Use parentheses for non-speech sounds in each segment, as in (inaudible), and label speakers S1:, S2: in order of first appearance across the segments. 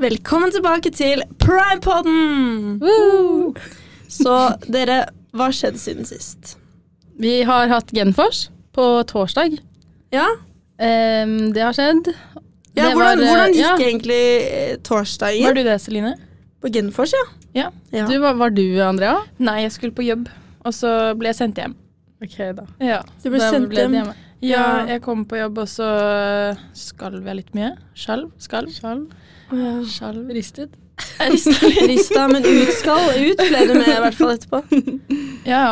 S1: Velkommen tilbake til Primepodden!
S2: Woo!
S1: Så dere, hva har skjedd siden sist?
S2: Vi har hatt Genfors på torsdag.
S1: Ja,
S2: Ehm, det har skjedd.
S1: ja hvordan,
S2: Det var, eh,
S1: hvordan gikk
S2: ja.
S1: egentlig eh,
S3: Var
S1: torsdagen?
S3: du det, Celine?
S1: På Genfors, ja.
S3: Ja.
S1: Ja.
S2: Du, var, var du, Andrea?
S3: Nei, jeg skulle på jobb, og så ble jeg sendt hjem.
S2: Ok, da.
S3: Ja.
S1: Du ble
S2: Da
S1: sendt
S2: ble det
S1: hjem.
S2: hjemme.
S3: ja,
S1: Ja.
S3: jeg kom på jobb, og så skalv jeg litt mye. Skjalv? Skalv?
S1: Å,
S3: Skjalv?
S2: Ristet.
S3: Jeg rista
S1: ja.
S3: litt.
S1: Rista, men ut skal. Ut ble du med, i hvert fall etterpå.
S3: (laughs)
S1: (laughs)
S3: Ja.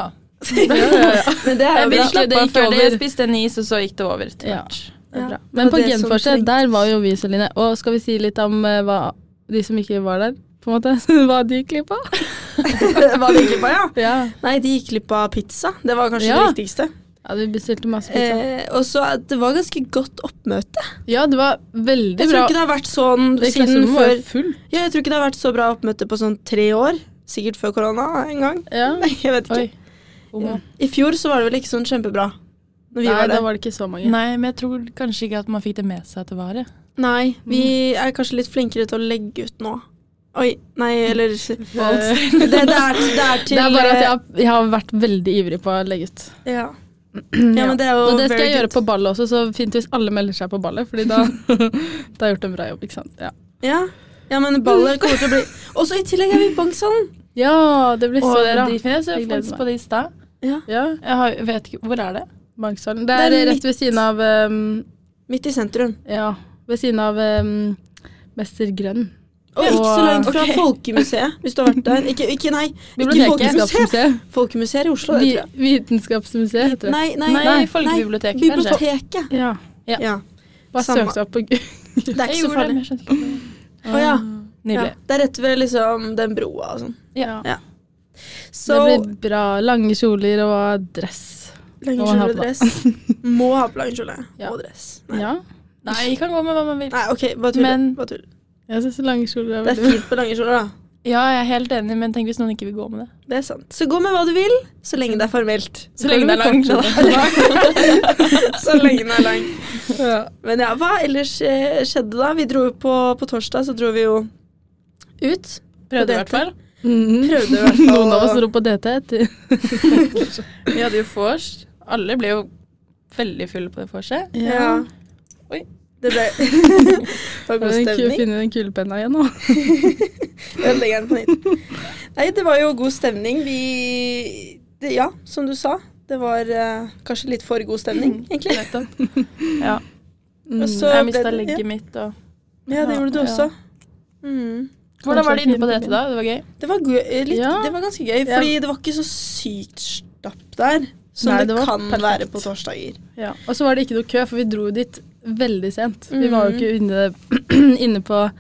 S1: Men det er
S3: Jeg
S1: jo bra.
S2: virkelig-
S3: virkelig,
S2: det
S3: det
S2: gikk
S3: før det.
S2: over.
S3: Jeg spiste en is, og så gikk det over etter
S2: Ja.
S3: hvert.
S2: Det er
S1: Ja.
S2: bra. Men
S1: Det
S2: på
S1: var det som
S2: Genforset,
S1: trengtes.
S2: der var jo vi, Celine. Og skal vi si litt om eh, hva de som ikke var der, på en måte, (laughs) hva de gikk glipp av?
S1: (laughs) Hva de gikk glipp av, ja?
S2: Ja.
S1: Nei, de gikk glipp av pizza. Det var kanskje
S2: Ja.
S1: det viktigste.
S2: ja, vi bestilte masse pizza.
S1: Eh, og så at det var ganske godt oppmøte.
S2: Ja, det var veldig
S1: Jeg tror
S2: bra.
S1: ikke det har vært sånn
S2: Det
S1: siden
S2: klasserommet var
S1: før
S2: jo fullt.
S1: Ja, jeg tror ikke det har vært så bra oppmøte på sånn tre år. Sikkert før korona en gang.
S2: Ja.
S1: Nei, jeg vet ikke.
S2: Oi.
S1: Ja. I fjor så var det vel ikke sånn kjempebra. Når vi
S2: Oh, Nei,
S1: var
S2: da
S1: der.
S2: var det ikke så mange.
S3: Nei, men jeg tror kanskje ikke at man fikk det med seg at det var det.
S1: Nei, vi er kanskje litt flinkere til å legge ut nå. Oi, nei, eller Det,
S2: Eh,
S1: det, er, det er til
S2: (laughs)
S1: eh,
S2: Det er bare at jeg har, jeg har vært veldig ivrig på å legge ut.
S1: ja. ja, men det er jo
S2: Og det skal
S1: very
S2: jeg gjøre
S1: good.
S2: på ballet også, så fint hvis alle melder seg på ballet, fordi da, da har jeg gjort en bra jobb, ikke sant. Ja,
S1: Ja. ja, men ballet kommer til å bli Og så i tillegg er vi i Bangsalen!
S2: ja det blir så
S3: Og
S2: bra.
S3: de- Jeg så
S2: Jeg gleder
S3: faktisk
S2: meg.
S3: på det i stad.
S2: Ja,
S3: Jeg har, vet ikke, Hvor er det?
S2: Bangsalen. Det er
S1: Det er
S2: rett ved siden av um,
S1: Midt i sentrum.
S2: Ja, ved siden av um, Mester Grønn.
S1: Og
S2: Ja.
S1: ikke så langt fra
S3: Ok.
S1: Folkemuseet, hvis du har vært der. Ikke, ikke nei. Ikke Folkemuseet.
S2: Vitenskapsmuseet.
S1: Folkemuseet er i Oslo, det tror jeg.
S2: (laughs) Vi- Vitenskapsmuseet heter det.
S1: Nei, nei,
S3: Nei,
S1: nei.
S3: Folkebiblioteket, kanskje.
S1: Biblioteket.
S2: Ja.
S3: Ja.
S1: Ja.
S2: Bare
S1: Samme.
S2: søkte opp på Gu-
S1: Det er
S3: Jeg
S1: ikke så
S3: gjorde det,
S1: farlig.
S3: men jeg skjønte ikke.
S1: Å ja. ja.
S3: Nydelig.
S1: Det er rett ved liksom den broa og sånn.
S3: Ja.
S1: Så
S2: Det blir bra. Lange kjoler og dress.
S1: lange
S2: må man ha
S1: kjole og
S2: på (laughs) det.
S1: dress. Må ha på lang kjole
S2: Ja.
S1: og dress.
S2: Ja.
S3: Nei, vi kan gå med hva man vil.
S1: Nei, OK, bare tull.
S3: Men-
S1: bare tull.
S2: Jeg syns lange kjoler er
S1: Det er
S2: veldig
S1: fint på lange kjoler, da.
S3: Ja, jeg er helt enig, men tenk hvis noen ikke vil gå med det.
S1: Det er sant. Så gå med hva du vil, så lenge det er formelt.
S3: Så lenge det er lang
S1: (laughs) Så lenge den er lang.
S2: (laughs) Ja.
S1: Men ja, hva ellers eh, skjedde da? Vi dro jo på, på torsdag, så dro vi jo ut.
S2: (laughs)
S3: Prøvde
S1: i
S3: i
S1: hvert
S3: hvert fall.
S2: Mhm.
S1: Prøvde i hvert fall
S2: (laughs) Noen av
S1: å-
S2: oss dro på DT etter.
S3: (laughs) Vi hadde jo vors. Alle ble jo veldig fulle på det vorset.
S1: Ja.
S3: Oi.
S1: Det
S2: (laughs)
S1: ble Det var god
S2: Den ku-
S1: stemning.
S2: Finne den kulepenna igjen
S3: (laughs)
S2: nå.
S1: Ødelegger den på nytt. Nei, det var jo god stemning. Vi det, Ja, som du sa. Det var eh, kanskje litt for god stemning, egentlig.
S3: Nettopp. Ja.
S2: Mm.
S1: Og så
S3: Jeg
S1: ble
S3: mista
S1: det-
S3: legget mitt og
S1: Ja, ja, det gjorde du
S3: Ja.
S1: også. Mm.
S3: Hvordan var det inne på dette da? Det var gøy.
S1: Det, var gøy, eh, litt,
S2: Ja.
S1: det var ganske gøy, fordi det var ikke så sykt stapp der. Som
S2: Nei,
S1: det,
S2: det var
S1: kan
S2: perfekt.
S1: være på torsdager.
S2: Ja. Og så var det ikke noe kø, for vi dro dit veldig sent. Vi
S1: Mhm.
S2: var jo ikke inne, inne (clears throat) på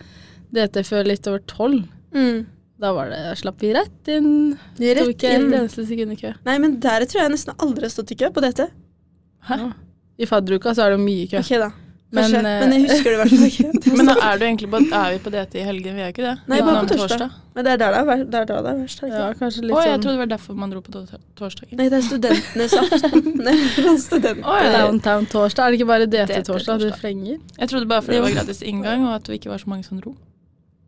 S2: DT før litt over tolv. Da var det, slapp vi rett inn. Mm. Tok
S1: Rett
S2: ikke et
S1: inn.
S2: eneste sekund i kø.
S1: Nei, men der tror jeg nesten aldri har stått i kø på dette.
S3: Hæ?
S2: Ja. I fadderuka så er det jo mye kø.
S1: Ok, da.
S2: Men,
S1: Kanskje. Men,
S2: eh,
S1: jeg husker det i hvert fall
S2: (laughs)
S1: ikke.
S3: Men da er du egentlig på, er vi på dette i helgen? Vi er jo ikke det.
S1: Nei,
S3: Ja,
S1: bare
S3: nå
S1: på torsdag. Men det er der det er ver- det er, der det er verst. er det ikke?
S2: Ja, kanskje litt
S3: Å, jeg
S2: sånn
S3: trodde det var derfor man dro på to- torsdagen.
S1: Nei, det er studentenes aften. Nei, (laughs) det er student.
S3: Å, ja.
S2: Downtown torsdag. Er det ikke bare DT
S3: DT
S2: torsdag du
S3: torsdag.
S2: flenger?
S3: Jeg trodde bare fordi det var gratis inngang, og at det ikke var så mange som dro.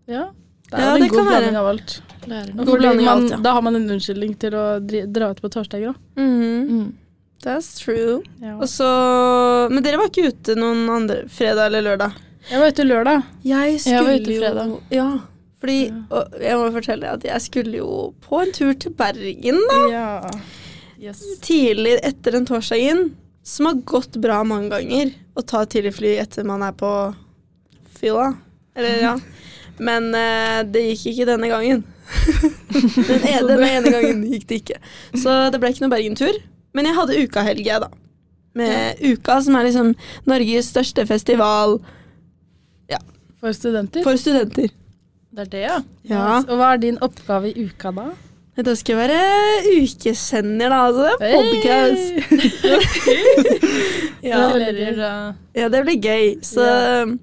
S2: Ja. Det
S1: Ja,
S2: er vel
S1: det
S2: en god
S1: kan være.
S2: blanding av alt.
S3: Lærer
S1: God
S3: nå.
S2: Fordi
S1: blanding av
S2: man,
S1: alt, ja.
S2: Da har man en unnskyldning til å dri- dra ut på torsdager òg.
S1: Mhm.
S3: Mm.
S1: That's true.
S2: Ja.
S1: Og så, men dere var ikke ute noen andre fredag eller lørdag?
S2: Jeg var ute lørdag.
S1: Jeg
S3: Jeg var ute fredag.
S1: jo Ja, fordi og jeg må fortelle at jeg skulle jo på en tur til Bergen da.
S2: Ja.
S3: Yes.
S1: Tidlig etter den torsdagen, som har gått bra mange ganger å ta tidlig fly etter man er på fylla. Eller ja. Men eh, det gikk ikke denne gangen. (laughs) den ene, den ene gangen gikk det ikke. Så det ble ikke noen Bergen-tur. Men jeg hadde ukahelg, jeg, da. Med Uka, som er liksom Norges største festival
S2: For studenter.
S1: for studenter.
S3: Det er det, ja.
S1: Ja.
S2: Og hva er din oppgave i uka da?
S1: Da skal jeg være ukesender, da. Altså. Podcast.
S2: (laughs)
S1: Ja.
S3: Gratulerer. da.
S1: ja, det blir gøy. Så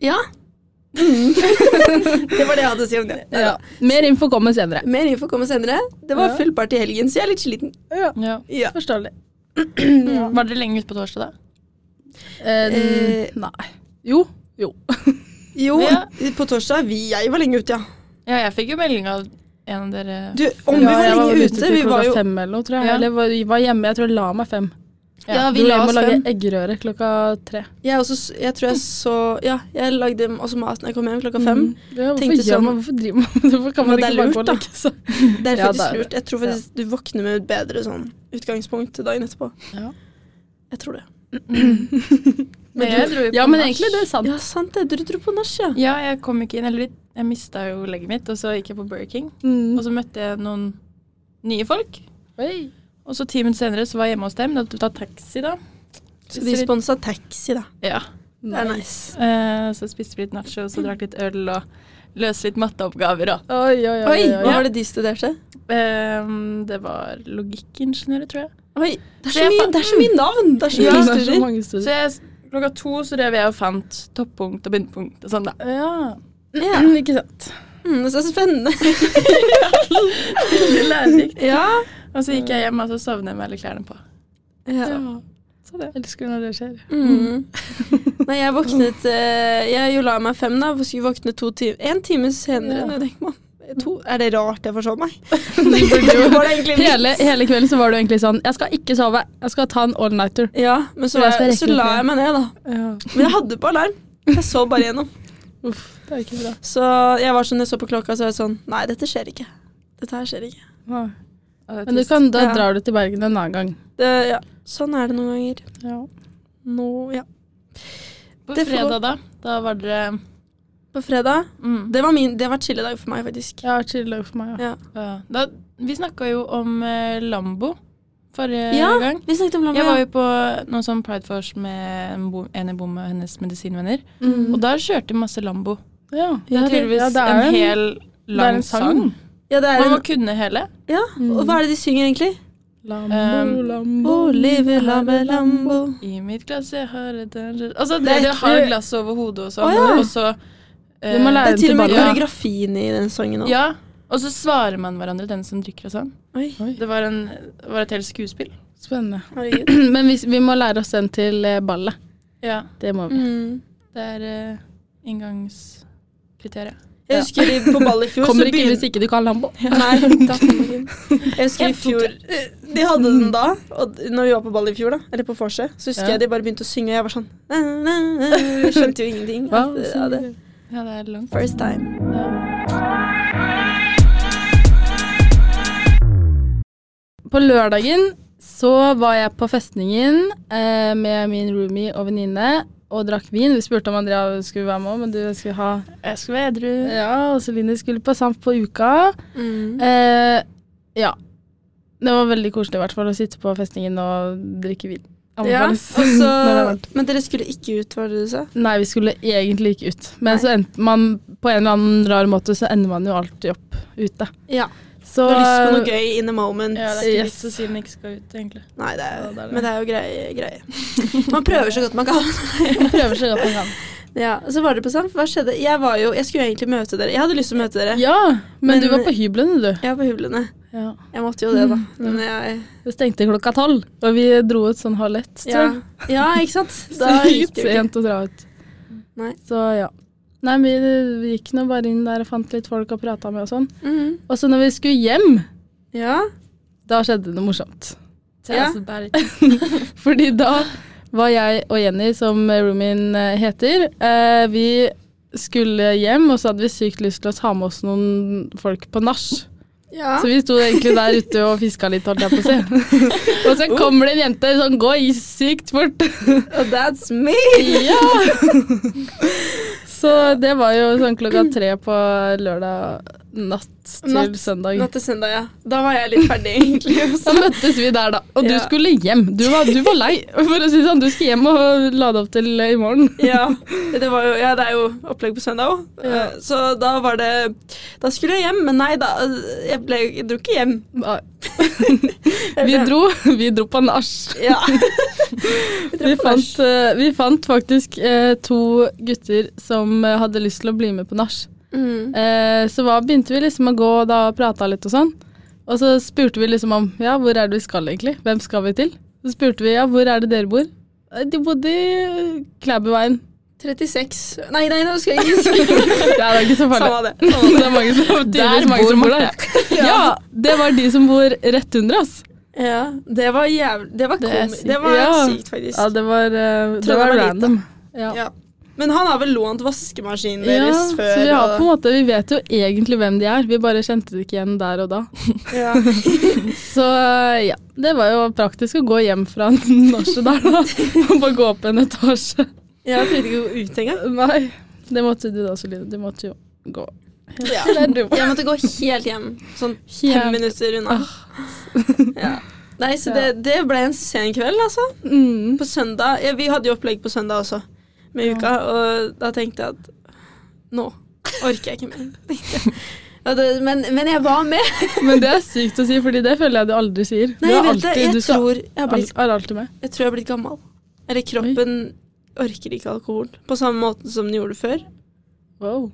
S1: ja. (laughs) det var det jeg hadde å si om det. Nei,
S2: Ja. Mer info kommer senere.
S1: Mer info kommer senere. Det var
S2: Ja.
S1: full fart i helgen, så jeg er litt sliten.
S2: Ja.
S3: Ja.
S1: Ja.
S2: Forståelig.
S3: Mm. Var dere lenge ute på torsdag, da?
S2: Eh,
S1: Eh,
S2: nei. Jo. Jo.
S1: Jo,
S3: Ja.
S1: på torsdag. Vi, jeg var lenge ute, ja.
S3: Ja, jeg fikk jo melding av en av dere
S1: Du, om vi
S2: Ja,
S1: var
S2: jeg
S1: lenge
S2: ute
S1: ute
S2: til
S1: Vi
S2: klokka
S1: var jo
S2: fem eller noe, tror jeg.
S3: Ja.
S2: Eller var, var hjemme. Jeg tror jeg la meg fem.
S3: Ja, vi
S2: Dro
S3: la
S2: hjem
S3: oss
S2: og lage
S3: fem.
S2: eggerøre klokka tre.
S1: jeg, også, s- jeg tror jeg så Ja, jeg lagde også mat når jeg kom hjem klokka fem.
S2: Mm. Ja, hvorfor,
S1: Tenkte
S2: gjør
S1: sånn-
S2: man, hvorfor driver man (laughs) Hvorfor
S1: Men
S2: kan man
S1: det
S2: ikke
S1: er
S2: bare
S1: lurt,
S2: gå og
S1: da.
S2: legge seg?
S1: Det er
S2: Ja,
S1: faktisk
S2: det er
S1: lurt. Jeg tror faktisk du våkner med et bedre sånn utgangspunkt til dagen etterpå.
S2: Ja.
S1: Jeg tror det.
S3: Men jeg dro jo på
S2: Ja, men
S3: nach.
S2: egentlig, det er sant.
S1: Ja, sant det. Du dro på nach, ja.
S3: Ja, jeg kom ikke inn. Eller jeg mista jo legget mitt, og så gikk jeg på Burger King. Og
S2: Mm.
S3: så møtte jeg noen nye folk.
S2: Oi.
S3: Og så ti minutter senere så var jeg hjemme hos dem. Da tok jeg taxi, da.
S1: Så de sponsa taxi, da.
S3: Ja.
S1: Det er nice.
S3: Eh, så spiste vi litt nachos og drakk litt øl og løste litt matteoppgaver, da.
S2: Oi, oi, oi.
S1: Oi,
S2: oi,
S1: hva
S2: oi.
S1: var det de studerte?
S3: Eh, det var logikkingeniører, tror jeg.
S1: Oi, det er
S3: Det
S1: så
S3: er
S1: mye,
S3: fa-
S1: det er så mye navn! Det er så
S2: Ja,
S1: mye
S2: det er så
S1: studier.
S2: mange
S3: Så
S2: studier.
S3: jeg, klokka to så rev jeg og fant toppunkt og bunnpunkt og sånn, da.
S2: Ja.
S1: (clears throat) Ja.
S2: Ikke sant.
S1: Mm, det er så spennende.
S3: Veldig (laughs) lærerikt.
S1: (laughs) Ja.
S3: Og så gikk jeg hjem, og så sovnet jeg med alle klærne på.
S1: ja.
S2: Ja.
S3: Så det.
S2: Elsker når det skjer.
S1: Mm. Nei, jeg våknet eh, Jeg jo la meg fem, da. og Skulle våkne to timer En time senere.
S2: Ja.
S1: når jeg tenker meg om. To. Er (laughs) det rart jeg forsov meg?
S2: Hele,
S1: Var det egentlig vits?
S2: hele kvelden så var du egentlig sånn Jeg skal ikke sove, jeg skal ta en all-nighter.
S1: Ja, men så,
S2: Jeg
S1: var
S2: skal
S1: jeg,
S2: rekke
S1: så
S2: det
S1: la
S2: før.
S1: jeg meg ned, da. Men jeg hadde på alarm. Jeg så bare gjennom.
S2: Uff, det er ikke bra.
S1: Så jeg var sånn, jeg så på klokka, så var jeg sånn Nei, dette skjer ikke. Dette her skjer ikke.
S3: Og det er
S2: Men du
S3: trist.
S2: kan, da
S1: Ja.
S2: drar du til Bergen en annen gang.
S1: Det, ja. Sånn er det noen ganger.
S2: Ja.
S1: Nå, ja.
S3: På
S1: det får gå.
S3: fredag, da, da var dere
S1: På fredag
S3: mm,
S1: Det var, min, det var chille dag for meg, faktisk.
S2: Jeg har chill dag for meg, ja.
S1: Ja.
S3: ja. da, Vi snakka jo om eh, Lambo forrige
S1: Ja.
S3: Eh, gang.
S1: Vi snakket om
S3: Jeg var
S1: lammet.
S3: jo på noe sånn Pride Force med en bo- en i bommet og hennes medisinvenner.
S1: Mm.
S3: Og der kjørte de masse Lambo.
S2: Ja,
S3: Det er tydeligvis
S2: ja, det er
S3: en,
S2: en-
S3: hel
S2: det er
S3: lang
S2: en
S3: sang.
S2: sang.
S1: Ja, det er
S3: Man må
S1: en,
S3: kunne hele.
S1: ja. Og hva er det de synger, egentlig?
S2: Lambo,
S3: Um,
S2: lambo,
S1: Oh, live, lambe, lambo.
S3: I mitt glass jeg har et danger Altså,
S1: Det er
S3: dere
S1: ikke-
S3: har glass over hodet og sånn,
S1: Å, ja.
S3: og så eh,
S2: Du må lære
S1: Det er til og med
S2: tilbake.
S1: koreografien i den sangen òg.
S3: Ja. Og så svarer man hverandre, den som drikker og sånn.
S1: Oi,
S2: Oi,
S3: Det var, en, det var et helt skuespill.
S2: spennende. (clears throat)
S1: herregud.
S2: Men vi, vi må lære oss den til eh, ballet.
S3: Ja.
S2: Det må vi.
S1: Mm.
S3: Det er eh, inngangskriteriet.
S1: Jeg husker vi på ball i fjor
S2: Kommer
S1: så
S2: ikke
S1: begyn-
S2: hvis ikke du kan lambo.
S1: Nei, da kommer vi inn. Jeg husker i
S3: Jeg tok
S1: fjor Eh, De hadde den da, og d- når vi var på ball i fjor, da, eller på vorset, så husker
S2: Ja.
S1: jeg de bare begynte å synge, og jeg var sånn "Na, na, na", Jeg skjønte jo ingenting.
S2: Hva?
S1: At- ja, det.
S3: Ja, det er langt.
S1: First time.
S2: På lørdagen så var jeg på festningen eh, med min roomie og venninne og drakk vin. Vi spurte om Andrea skulle være med, men du skulle ha
S3: Jeg skal være edru.
S2: Ja, og Celine skulle på Samp på uka. Eh, ja. Det var veldig koselig i hvert fall å sitte på festningen og drikke vin.
S1: Ja, og
S2: Anbefales. (laughs) Når det er
S1: så,
S2: varmt.
S1: men dere skulle ikke ut, var det du sa?
S2: Nei, vi skulle egentlig ikke ut. Men så endte man på en eller annen rar måte så ender man jo alltid opp ute.
S1: Ja.
S2: Så
S1: Du har lyst
S2: (laughs)
S1: på noe gøy in the moment.
S3: Ja, det er ikke
S2: Yes.
S3: vits å si den ikke skal ut, egentlig.
S1: Nei, det er,
S3: Ja, det er det.
S1: men det er jo greie, greie. Man prøver så godt man kan.
S2: man eh, prøver så godt man kan.
S1: (laughs) Ja, så var det på Samf. Hva skjedde? Jeg, var jo, jeg skulle jo egentlig møte dere. Jeg hadde lyst til å møte dere.
S2: Ja, men,
S1: Men-
S2: du var på hyblene, du.
S1: Jeg var på Hublene.
S2: Ja.
S1: Jeg måtte jo det, da. Men jeg,
S2: Det stengte klokka tolv, og vi dro ut sånn halv ett.
S1: ja.
S2: tror jeg.
S1: ja, ikke sant? Da
S2: Så
S1: gikk det jo ikke.
S2: sent å dra ut.
S1: Nei.
S2: Så ja. Nei, vi, vi gikk nå bare inn der og fant litt folk og prata med og sånn.
S1: Mhm.
S2: Og så når vi skulle hjem,
S1: Ja.
S2: da skjedde det noe morsomt.
S1: Ja.
S3: Tøseberg.
S2: Fordi da var jeg og Jenny, som roomien eh, heter, eh, vi skulle hjem, og så hadde vi sykt lyst til å ta med oss noen folk på nach.
S1: ja.
S2: Så vi sto egentlig der ute og fiska litt, holdt jeg på å si.
S1: (laughs)
S2: og så kommer det en jente sånn, gå i sykt fort.
S1: Og that's me!
S2: ja! Så det var jo sånn klokka tre på lørdag natt til
S1: Natt-
S2: søndag.
S1: Natt til søndag, ja. Da var jeg litt ferdig, (laughs) egentlig.
S2: Da møttes vi der, da. Og du
S1: Ja.
S2: skulle hjem. Du var, du var lei, for å si det sånn. Du skal hjem og lade opp til i morgen.
S1: Ja, det, var jo, ja, det er jo opplegg på søndag òg.
S2: Ja.
S1: Så da var det Da skulle jeg hjem, men nei da. Jeg, ble, jeg dro ikke hjem. (laughs)
S2: Nei. Vi dro, vi dro på nach.
S1: Ja.
S2: Vi, fant, eh, vi fant faktisk eh, to gutter som eh, hadde lyst til å bli med på nach.
S1: (laughs) Mm.
S2: Eh, så hva, begynte vi liksom å gå da, og prata litt og sånn. Og så spurte vi liksom om ja, hvor er det vi skal egentlig? Hvem skal vi til? Så spurte vi ja, hvor er det dere bor? Eh, De bodde i Klæbuveien (laughs)
S1: 36 Nei, nei, nå (laughs) skal jeg ikke si
S2: Ja, det er ikke så farlig.
S1: Samme det. Samme det.
S2: (laughs) Det er mange som, tydeligvis mange
S3: bor
S2: som bor
S3: Marte.
S2: der. (laughs) Ja, det var de som bor rett under oss.
S1: Ja, det var jævlig Det var,
S3: Det er
S1: komi-
S3: sykt.
S1: det var
S2: Ja.
S1: sykt, faktisk.
S2: Ja, det var, eh, det
S1: Trondheim
S2: var
S1: er lite.
S2: random. Ja.
S1: Ja. Men han har vel lånt vaskemaskinen
S2: Ja,
S1: deres
S2: så
S1: før?
S2: vi har på en
S1: og-
S2: måte, vi vet jo egentlig hvem de er, vi bare kjente det ikke igjen der og da.
S1: ja.
S2: Så eh, ja, det var jo praktisk å gå hjem fra (laughs) norset der da, og bare gå opp en etasje.
S1: Jeg trodde ikke å gå ut engang.
S2: Nei, det måtte du da, Celine, du måtte jo gå.
S1: Ja. (laughs) Jeg måtte gå helt hjem, sånn
S2: Helt-
S1: fem minutter unna. Ah. Ja. Nei, så det, det ble en sen kveld, altså.
S2: Mm.
S1: På søndag, ja, Vi hadde jo opplegg på søndag også, med uka, og da tenkte jeg at nå orker jeg ikke mer. (laughs) tenkte jeg. Ja, det, men, men jeg var med.
S2: Men det er sykt å si, fordi det føler jeg du aldri sier.
S1: Nei,
S2: du
S1: jeg
S2: er
S1: vet det.
S2: alltid- du
S1: Jeg
S2: skal-
S1: tror jeg, har blitt,
S2: al- er alltid med.
S1: jeg tror jeg har blitt gammel. Eller kroppen orker ikke alkohol på samme måte som den gjorde før.
S2: Wow,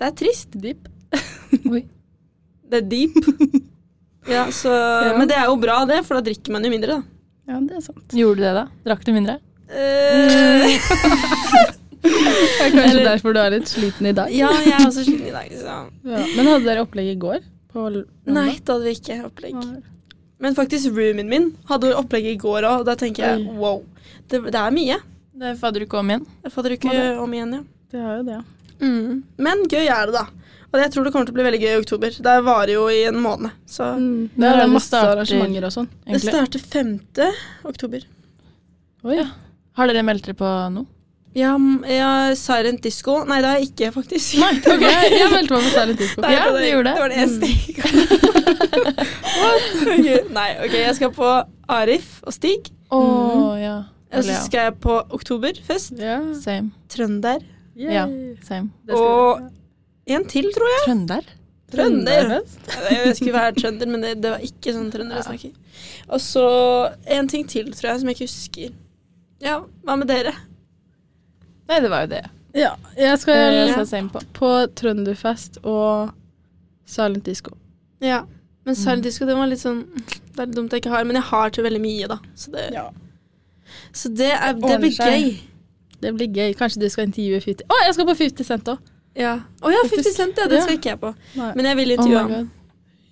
S1: Det er trist.
S2: deep.
S1: Det er
S2: (laughs)
S1: deep. ja, så,
S2: Ja.
S1: Men det er jo bra, det, for da drikker man jo mindre, da.
S2: Ja, det er sant.
S3: Gjorde du det, da? Drakk du mindre?
S2: Mm.
S1: Eh, (laughs)
S2: Det er kanskje
S1: Eller-
S2: derfor du er litt sliten i dag.
S1: ja, jeg er også sliten i dag, så
S2: Ja, Men hadde dere opplegg i går? På l-
S1: Nei, da hadde vi ikke opplegg.
S2: mandag?
S1: Men faktisk, roomien min hadde opplegg i går òg, og da tenker jeg
S2: Oi.
S1: wow. Det, det er mye.
S3: Det fader du ikke om igjen.
S1: Jeg fatter ikke om igjen, ja.
S2: Det er jo det.
S1: Mm. Men gøy er det, da. Og jeg tror det kommer til å bli veldig gøy i oktober. Det varer jo i en måned. Så
S2: Mm. Det
S3: Ja,
S2: er
S3: det
S2: masse
S3: starter-
S2: arrangementer og sånn.
S1: det
S3: egentlig.
S1: starter 5. oktober.
S2: Oi.
S3: Har dere meldt dere på noe?
S1: Ja, m- ja, Silent Disco Nei, det har jeg ikke, faktisk. (laughs) Nei,
S2: Ok, jeg meldte meg på Særlig tidspunkt.
S1: Nei,
S3: Ja,
S1: det var
S3: du
S1: det-
S3: gjorde det.
S1: Det var det eneste jeg (laughs) What? Ok, Nei, ok, jeg skal på Arif og Stig.
S3: Å Mm-hmm. ja.
S1: Og
S3: Eller
S1: så
S3: ja.
S1: skal jeg på Oktoberfest,
S2: Ja.
S3: Same.
S1: Trønder
S2: Yay.
S3: Ja. Same.
S2: Det skal
S1: og-
S2: vi gjøre.
S1: En til, tror jeg.
S3: Trønder?
S1: Trønder.
S2: Trønderfest.
S1: Jeg skulle være trønder, men det, det var ikke sånn trønder jeg snakker. Og så en ting til, tror jeg, som jeg ikke husker. Ja, hva med dere?
S3: Nei, det var jo det.
S2: Ja, jeg
S3: Eh,
S2: skal
S3: så same på.
S2: på Trønderfest og Silent Disco.
S1: Ja, men Silent Disco, det var litt sånn Det er litt dumt jeg ikke har, men jeg har til veldig mye, da. Så det,
S2: Ja.
S1: så det, er, det
S2: ordner
S1: blir
S2: seg.
S1: gøy.
S2: Det blir gøy. Kanskje du skal intervjue 50 Å, jeg skal på 50 Cent òg!
S1: Ja. Å ja, 50 Cent, ja. Det
S2: Ja.
S1: skal ikke jeg på.
S2: Nei.
S1: Men jeg vil
S3: Oh my
S1: intervjue han.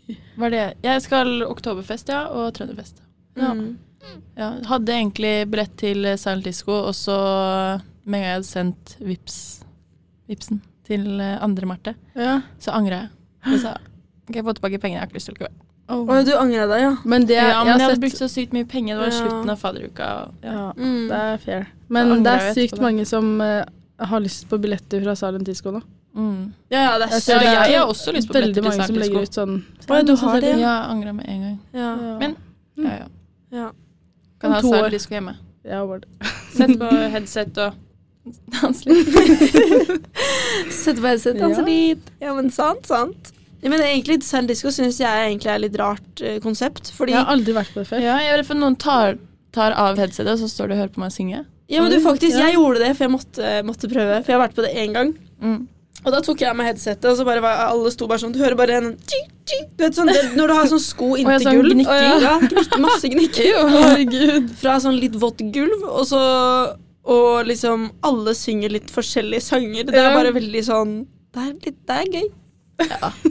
S3: god. Hva er det? Jeg skal Oktoberfest, ja, og Trønderfest.
S2: Ja.
S1: Mm.
S3: Ja, hadde egentlig billett til eh, Silent Disco, og så med en gang jeg hadde sendt vips, vipsen til eh, andre Marte,
S2: Ja.
S3: så angra jeg. Jeg sa kan jeg få tilbake pengene? Jeg har ikke lyst til å ikke være
S1: Å, du angra deg, ja.
S2: Men det
S3: Ja, men jeg
S2: har
S3: hadde
S2: sett-
S3: brukt så sykt mye penger. Det var
S1: Ja.
S3: slutten av faderuka. og- Ja.
S2: Ja,
S1: Mm.
S2: det er fair.
S3: Da
S2: Men
S3: angrer
S2: det
S3: jeg
S2: er
S3: etterpå,
S2: sykt
S3: da.
S2: mange som eh, har lyst på billetter fra Silent Disco nå.
S3: Mm.
S1: Ja, ja, det er
S2: Jeg
S1: så
S2: ser
S3: Ja,
S2: det er
S3: jeg har også lyst på billetter
S2: Veldig
S3: til
S2: mange
S3: Silent
S2: som legger
S3: Disco.
S2: ut sånn.
S1: Å, ja, du har det,
S3: Ja,
S1: ja.
S3: jeg angra med en gang.
S1: ja.
S3: Men ja, ja.
S1: Ja.
S3: Kan
S2: Om
S3: ha
S2: to år.
S3: Silent Disco hjemme.
S2: Ja, Bård.
S3: Sett på headset og dans litt.
S1: Sett altså, på headset, danse
S2: Ja.
S1: litt. Ja, men sant, sant. Ja, men egentlig, Silent Disco syns jeg egentlig er litt rart eh, konsept. Fordi
S2: Jeg
S1: ja.
S2: har aldri vært på det før.
S3: Ja, jeg er redd for noen tar, tar av headsetet, og så står du og hører på meg synge.
S1: men du, faktisk,
S2: Ja.
S1: jeg gjorde det, for jeg måtte, måtte prøve. For jeg har vært på det én gang.
S3: Mm.
S1: Og da tok jeg av meg headsetet, og så bare var alle sto bare sånn Du hører bare en tjing, tjing. Du vet sånn, det, Når du har sånn sko
S3: ja,
S1: inntil
S3: sånn
S1: gulv.
S3: gnikking.
S1: Å, ja, gnikk- masse gnikking.
S2: Herregud.
S1: Fra sånn litt vått gulv, og så Og liksom alle synger litt forskjellige sanger. Det er
S2: Ja.
S1: bare veldig sånn Det er, litt, det er gøy.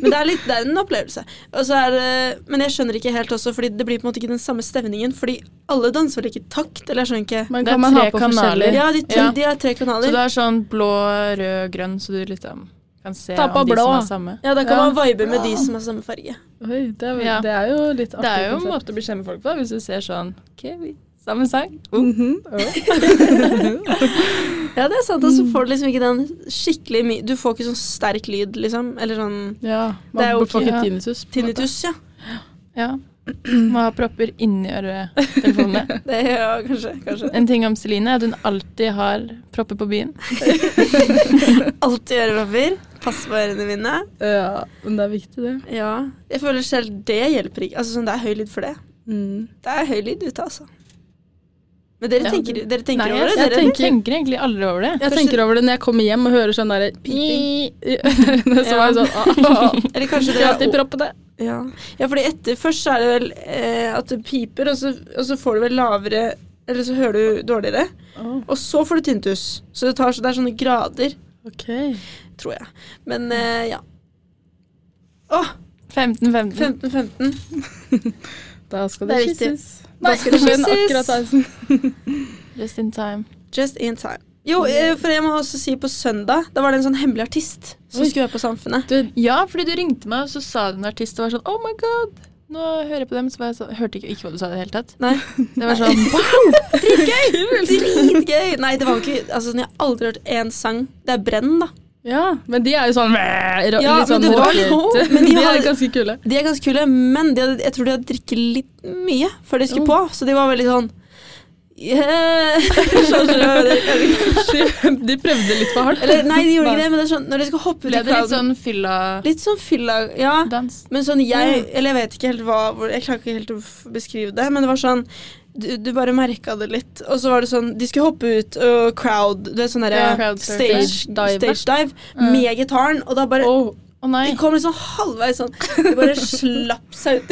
S1: Men det er, litt, det er en opplevelse. Og så er, det- men jeg skjønner ikke helt også, Fordi det blir på en måte ikke den samme stemningen. Fordi alle danser vel ikke i takt? Eller jeg skjønner ikke.
S2: Men
S3: Det er
S2: kan man ha
S3: tre
S2: på
S3: kanaler.
S2: forskjellige
S1: Ja, de, tre-
S3: Ja.
S1: de er tre
S3: Så du
S1: kanaler.
S3: har sånn blå, rød, grønn, så du liksom kan se
S2: Ta på
S3: om de
S2: blå.
S3: som har samme.
S1: Ja, da kan
S2: Ja.
S1: man vibe med de som har samme farge.
S2: Oi, det, er,
S3: Ja.
S2: det er jo litt artig.
S3: Det er jo en
S2: konsept.
S3: måte å bekjemme folk på, hvis du ser sånn OK, vi samme sang.
S2: Mhm. Å.
S1: Ja, det er sant. Og så får du liksom ikke den skikkelig mye Du får ikke sånn sterk lyd, liksom. Eller sånn
S2: Ja,
S1: Det
S2: man
S1: er jo
S2: får
S1: ok.
S2: ikke tinnitus. på en måte.
S1: tinnitus, ja.
S3: Ja. Må ha propper inni (laughs) øretelefonene.
S1: Det er ja, kanskje, kanskje.
S3: En ting om Celine er at hun alltid har propper på byen.
S1: (laughs) Alltid ørepapir. Passe på ørene mine.
S2: Ja, men det er viktig, det.
S1: Ja. Jeg føler selv det hjelper ikke. Altså, sånn, det er høy lyd for det.
S2: Mm.
S1: Det er høy lyd ute, altså. Men dere
S3: Ja.
S1: tenker, dere tenker
S3: Nei,
S1: over det?
S3: jeg
S1: Dere,
S3: tenker, tenker egentlig aldri over det.
S2: Jeg tenker over det når jeg kommer hjem og hører sånn (laughs) derre
S3: (laughs)
S2: piping. Så var jeg sånn ah, ah, ah.
S1: eller kanskje
S2: Jeg
S1: dere
S2: har alltid proppene.
S1: Ja. ja, fordi etter først så er det vel eh, at det piper, og så, og så får du vel lavere eller så hører du dårligere.
S2: Å,
S1: Og så får du tintus. Så det, tar, så det er sånne grader,
S2: ok.
S1: tror jeg. Men eh, ja. Å,
S3: 15-15.
S1: 15-15.
S2: Da skal
S1: Det
S2: det,
S1: er riktig.
S2: kysses.
S1: Da skal det
S2: men
S1: kysses.
S2: akkurat halsen.
S3: Just in time.
S1: Just in time. Jo, eh, for jeg må også si på søndag, da var det en sånn hemmelig artist som
S2: Oi.
S1: skulle være på Samfunnet.
S2: Du,
S3: Ja, fordi du ringte meg, og så sa du en artist og var sånn Oh my god! Nå hører jeg på dem. Så var jeg sånn Hørte ikke, ikke hva du sa i det hele tatt.
S1: Nei.
S3: Det var sånn
S1: Dritgøy! Nei, det var jo ikke Altså, sånn, jeg har aldri hørt én sang. Det er Brenn, da.
S2: ja, men de er jo sånn Ja,
S1: Ja,
S2: litt sånn
S1: men det var
S2: rockete. (laughs)
S1: jo- men de
S2: de,
S1: har-
S2: er ganske kule.
S1: De er ganske kule, men de hadde, jeg tror de hadde drikket litt mye før de
S3: Oh.
S1: skulle på. Så de var veldig sånn yeah. (laughs) Skjønner du?
S2: De prøvde litt for hardt.
S1: Eller nei, de gjorde ikke det, men det er sånn når de skal hoppe ut i
S3: Ble det litt
S1: crowden
S3: sånn fylla-dans?
S1: Litt sånn fylla, ja. Men sånn jeg Eller jeg vet ikke helt hva hvor- Jeg klarer ikke helt å f- beskrive det, men det var sånn du, du bare merka det litt. Og så var det sånn De skulle hoppe ut og crowd Det er sånn derre
S3: Ja, crowd surfing.
S1: stage,
S2: Dive.
S1: stage dive med gitaren, og da bare
S2: Åh,
S3: Å nei.
S1: De kom liksom halvveis sånn. De bare slapp seg ut.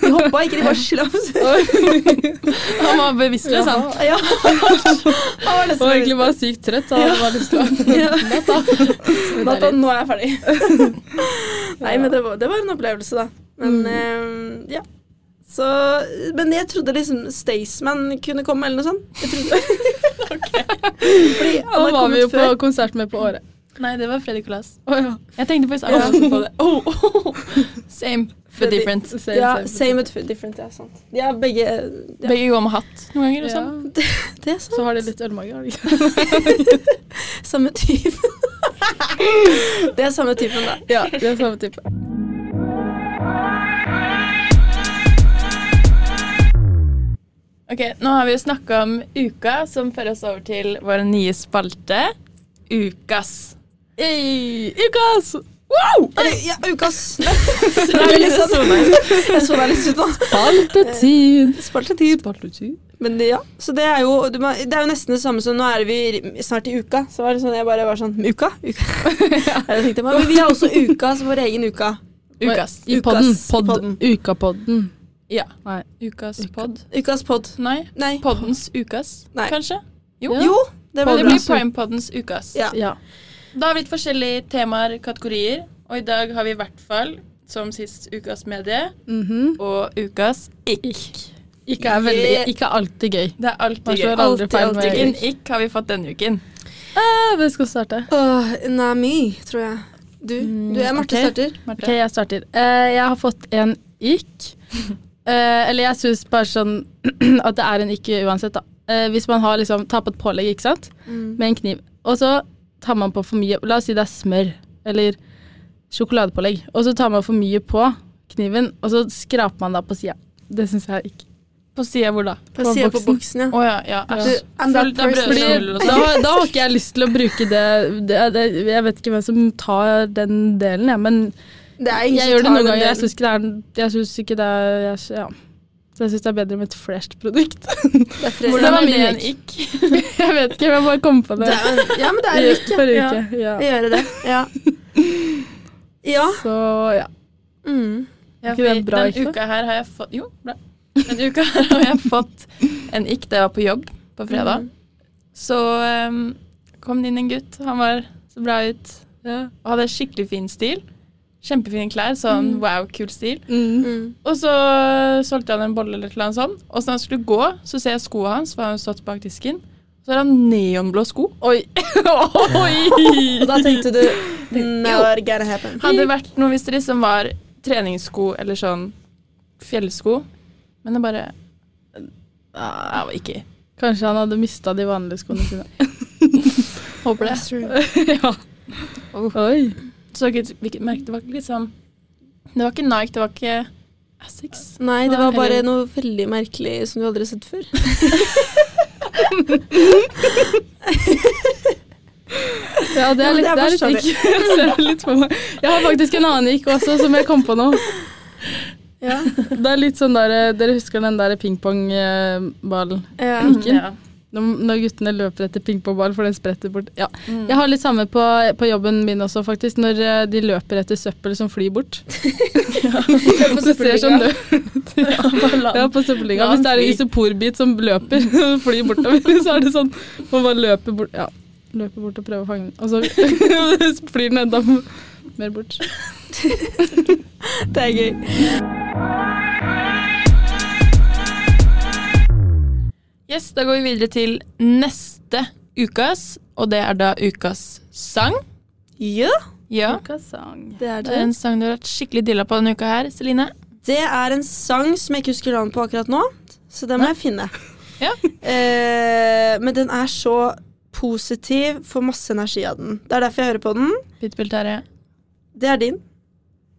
S1: De hoppa ikke, de bare slapp seg ut.
S3: Han var bevisstløs, han.
S1: (laughs) Ja. Han var
S2: og egentlig
S1: nesten
S2: bare sykt trøtt. Så han var lyst til å
S1: Ja. (laughs)
S3: Deilig.
S1: Nathan, nå er jeg (laughs) ferdig. Nei, men det var, det var en opplevelse, da. Men eh, ja. Så, men jeg trodde liksom Staysman kunne komme, eller noe sånt. Jeg (laughs) trodde Fordi
S2: Da
S1: alle
S2: var
S1: kom
S2: vi jo
S1: ut
S2: på
S1: før.
S2: konsert med på Året.
S3: Nei, det var Freddy Colas.
S2: Å ja.
S3: Jeg tenkte faktisk
S1: Ja.
S3: akkurat på det. Oh, oh, oh. Same, but
S1: Freddy.
S3: different.
S2: Same,
S1: Ja,
S2: same.
S1: same but different. Ja, sant. De er begge ja,
S3: Begge går med hatt noen ganger.
S2: Ja.
S3: Liksom.
S1: Det er sant.
S2: Så har de litt ølmage. har de ikke?
S1: Samme type. det er samme typen, da.
S2: Ja, de er samme type.
S3: Ok, Nå har vi jo snakka om uka, som fører oss over til vår nye spalte. Ukas.
S2: Hey, ukas!
S1: Wow! Ja, ukas. (laughs) Så det er litt sånn- Jeg så deg litt sånn. ut nå.
S2: Spaltetid.
S1: Sparte tid. Men det- ja, så det er jo du må- Det er jo nesten det samme som nå er vi snart i uka. Så var det sånn, jeg bare var sånn Uka? Uka. (laughs) Jeg tenkte, men vi har også uka som vår egen uka.
S3: Ukas.
S2: I
S1: Ukas.
S2: podden.
S1: I
S2: Pod,
S1: podden.
S2: Ukapodden.
S3: Ja.
S2: Nei.
S3: Ukas
S2: Uka.
S3: pod.
S1: Ukas pod.
S3: Nei.
S1: Nei.
S3: Poddens ukas,
S1: Nei.
S3: kanskje? Jo.
S2: Ja.
S1: Jo, det var
S3: Det
S1: bra.
S3: blir Prime-poddens ukas.
S1: Ja.
S2: Ja.
S3: Da har vi litt forskjellige temaer, kategorier, og i dag har vi i hvert fall, som sist, ukas medie
S2: Mhm.
S3: og ukas ikk.
S2: Ikke er veldig Ikke alltid gøy.
S3: Det er
S2: Man
S3: alltid gøy.
S2: slår aldri
S1: Alltid,
S2: feil
S1: alltid
S2: med
S1: gøy.
S3: Hvilken ikk har vi fått denne uken?
S2: Eh, Hvem skal starte?
S1: Åh, Nami, tror jeg. Du, du er Marte
S2: ok.
S1: starter.
S3: Marte?
S2: Ok, jeg starter. Eh, jeg har fått en
S1: (laughs)
S2: ikk. Eh, eller jeg syns bare sånn (clears throat) at det er en ikk uansett, da. Eh, hvis man har liksom tar på et pålegg, ikke sant,
S1: Mm.
S2: med en kniv, og så tar man på for mye La oss si det er smør eller sjokoladepålegg, og så tar man for mye på kniven, og så skraper man da på sida. Det syns jeg er ikk.
S3: På sida hvor da?
S1: På
S2: på
S1: sida på
S2: boksen.
S1: boksen, Sånn. ja.
S3: Å ja, ja. æsj.
S1: I'm that
S3: Full- da brød-
S1: person.
S2: Fordi
S3: Eller noe sånt.
S2: da, da har ikke jeg lyst til å bruke det, det, det Jeg vet ikke hvem som tar den delen, jeg, men
S1: Det er ingen
S2: jeg
S1: som
S2: gjør det
S1: tar
S2: noen
S1: den
S2: ganger. Jeg
S1: delen.
S2: syns ikke det er Jeg synes ikke det er jeg, sy- Ja. Så jeg syns det er bedre med et fresht produkt. (laughs)
S1: Det er fredag.
S3: Hvordan
S2: var
S3: er
S2: min
S3: det en
S2: ikk?
S3: ikk?
S2: Jeg vet ikke, jeg bare kom på det,
S1: Det er- Ja, men det er
S2: i
S1: jo ikke
S2: forrige
S3: ja.
S2: uke. Ja.
S1: Jeg gjør det.
S3: (laughs)
S1: Ja. Ja.
S2: Så ja.
S1: Mm.
S3: Ja,
S2: ikke det
S3: fordi
S2: bra
S3: den
S2: ikk, da?
S3: uka her har jeg fått Jo, (laughs) bra. Den uka her har jeg fått en ikk da jeg var på jobb på fredag. Så ehm, kom det inn en gutt. Han var så bra ut og hadde skikkelig fin stil. Kjempefine klær, sånn wow, kul stil.
S2: Mm.
S1: Mm.
S3: Og så solgte han en bolle eller noe sånt. Og så når han skulle gå, så ser jeg skoene hans, for han har stått bak disken. Så har han neonblå sko.
S2: Oi. Oi!
S1: Og da tenkte du mm, Never gonna happen.
S3: Hadde det vært noe hvis det liksom var treningssko eller sånn fjellsko. Men det bare Jeg var (laughs) ikke
S2: Kanskje han hadde mista de vanlige skoene sine.
S3: Håper det.
S2: ja.
S1: Oh.
S2: Oi.
S3: Så hvilket hvilket merke det var ikke liksom Det var ikke Nike, det var ikke Asics.
S1: Nei, det var
S3: Nei,
S1: bare
S3: eller-
S1: noe veldig merkelig som du aldri har sett før.
S2: Ja, det
S1: Ja,
S2: er
S1: men
S2: litt,
S1: det er
S2: det er litt
S1: forståelig.
S2: ikk. Jeg ser (laughs) det litt på meg. Jeg har faktisk en annen ikk også, som jeg kom på nå.
S1: Ja.
S2: eh, Det er litt sånn der, Dere husker den der pingpongballen?
S3: (laughs)
S1: Ja.
S2: Ikke?
S3: Ja.
S2: Når, når guttene løper etter pingpongball, for den spretter bort. Ja.
S3: Mm.
S2: Jeg har litt samme på, på jobben min også, faktisk. Når eh, de løper etter søppel som flyr
S3: (laughs)
S2: bort. (laughs) Det ser sånn løp.
S3: (laughs)
S2: Ja, på søppellinga.
S3: La
S2: Hvis
S3: den
S2: det er en
S3: fly.
S2: isoporbit som løper, (laughs) og flyr bortover, (laughs) så er det sånn Man bare løper bort Ja, løper bort og prøver å fange den. Og så (laughs) flyr den enda mer bort.
S1: Det er gøy.
S3: Yes, da går vi videre til neste ukas, og det er da ukas sang.
S1: Ja,
S3: Ja,
S1: det er
S3: det er en sang du har vært skikkelig dilla på denne uka her, Celine.
S1: Det er en sang som jeg ikke husker navnet på akkurat nå, så den må jeg finne.
S3: Ja.
S1: Eh, men den er så positiv, får masse energi av den. Det er derfor jeg hører på den.
S3: Pitbull Terje.
S1: Det er din.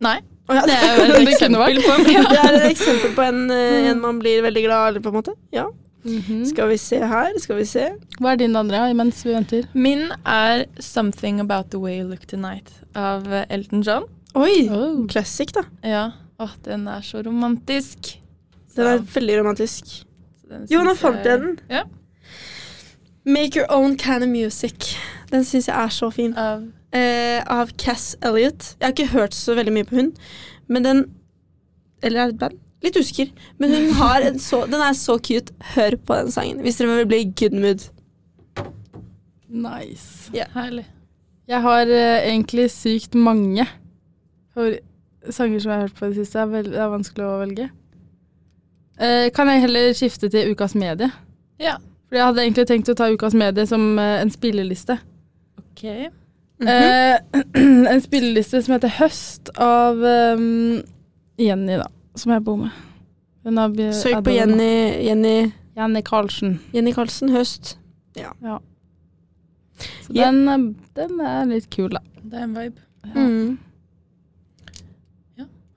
S3: Nei,
S1: Å ja,
S3: det er
S1: (laughs)
S3: Mm. jo et eksempel på en
S1: Det er et
S3: (laughs)
S1: eksempel på en, eh, en man blir veldig glad av, på en måte. Ja.
S3: Mm.
S1: Skal vi se her, skal vi se.
S2: Mhm. Hva er din andre ja, mens vi venter?
S3: Min er 'Something About The Way You Look Tonight' av eh, Elton John.
S1: Oi!
S2: Oh.
S1: Classic, da.
S3: Ja, åh, den er så romantisk.
S1: Den er
S3: Så-
S1: veldig romantisk.
S3: så den
S1: Jo, nå
S3: synes eh,
S1: fant jeg den.
S3: Ja,
S1: Make your own kind of music. Den syns jeg er så fin.
S3: av
S1: eh, av Cass Elliot. Jeg har ikke hørt så veldig mye på hun, men den Eller er det et band? Litt usikker. Men hun har en så, den er så cute. Hør på den sangen hvis dere vil bli i good mood.
S2: Nice.
S3: Herlig.
S2: Jeg har eh, egentlig sykt mange favor- sanger som jeg har hørt på i det siste. Det er, vel- det er vanskelig å velge. Eh, kan jeg heller skifte til ukas medie?
S3: Ja.
S2: For jeg hadde egentlig tenkt å ta ukas medie som eh, en spilleliste.
S3: Ok.
S1: Mhm.
S3: Mm-hmm.
S2: Eh, (clears throat) en spilleliste som heter Høst av eh, Jenny, da. Som jeg bor med. Den har vi-
S1: Søk Eh, på
S2: Adele-
S1: Jenny, Jenny,
S2: Jenny Karlsen.
S1: Jenny Karlsen Høst.
S2: Så
S1: Ja.
S2: den, er- den er litt kul,
S1: (laughs)
S2: da.
S3: Det er en vibe.
S1: Mm.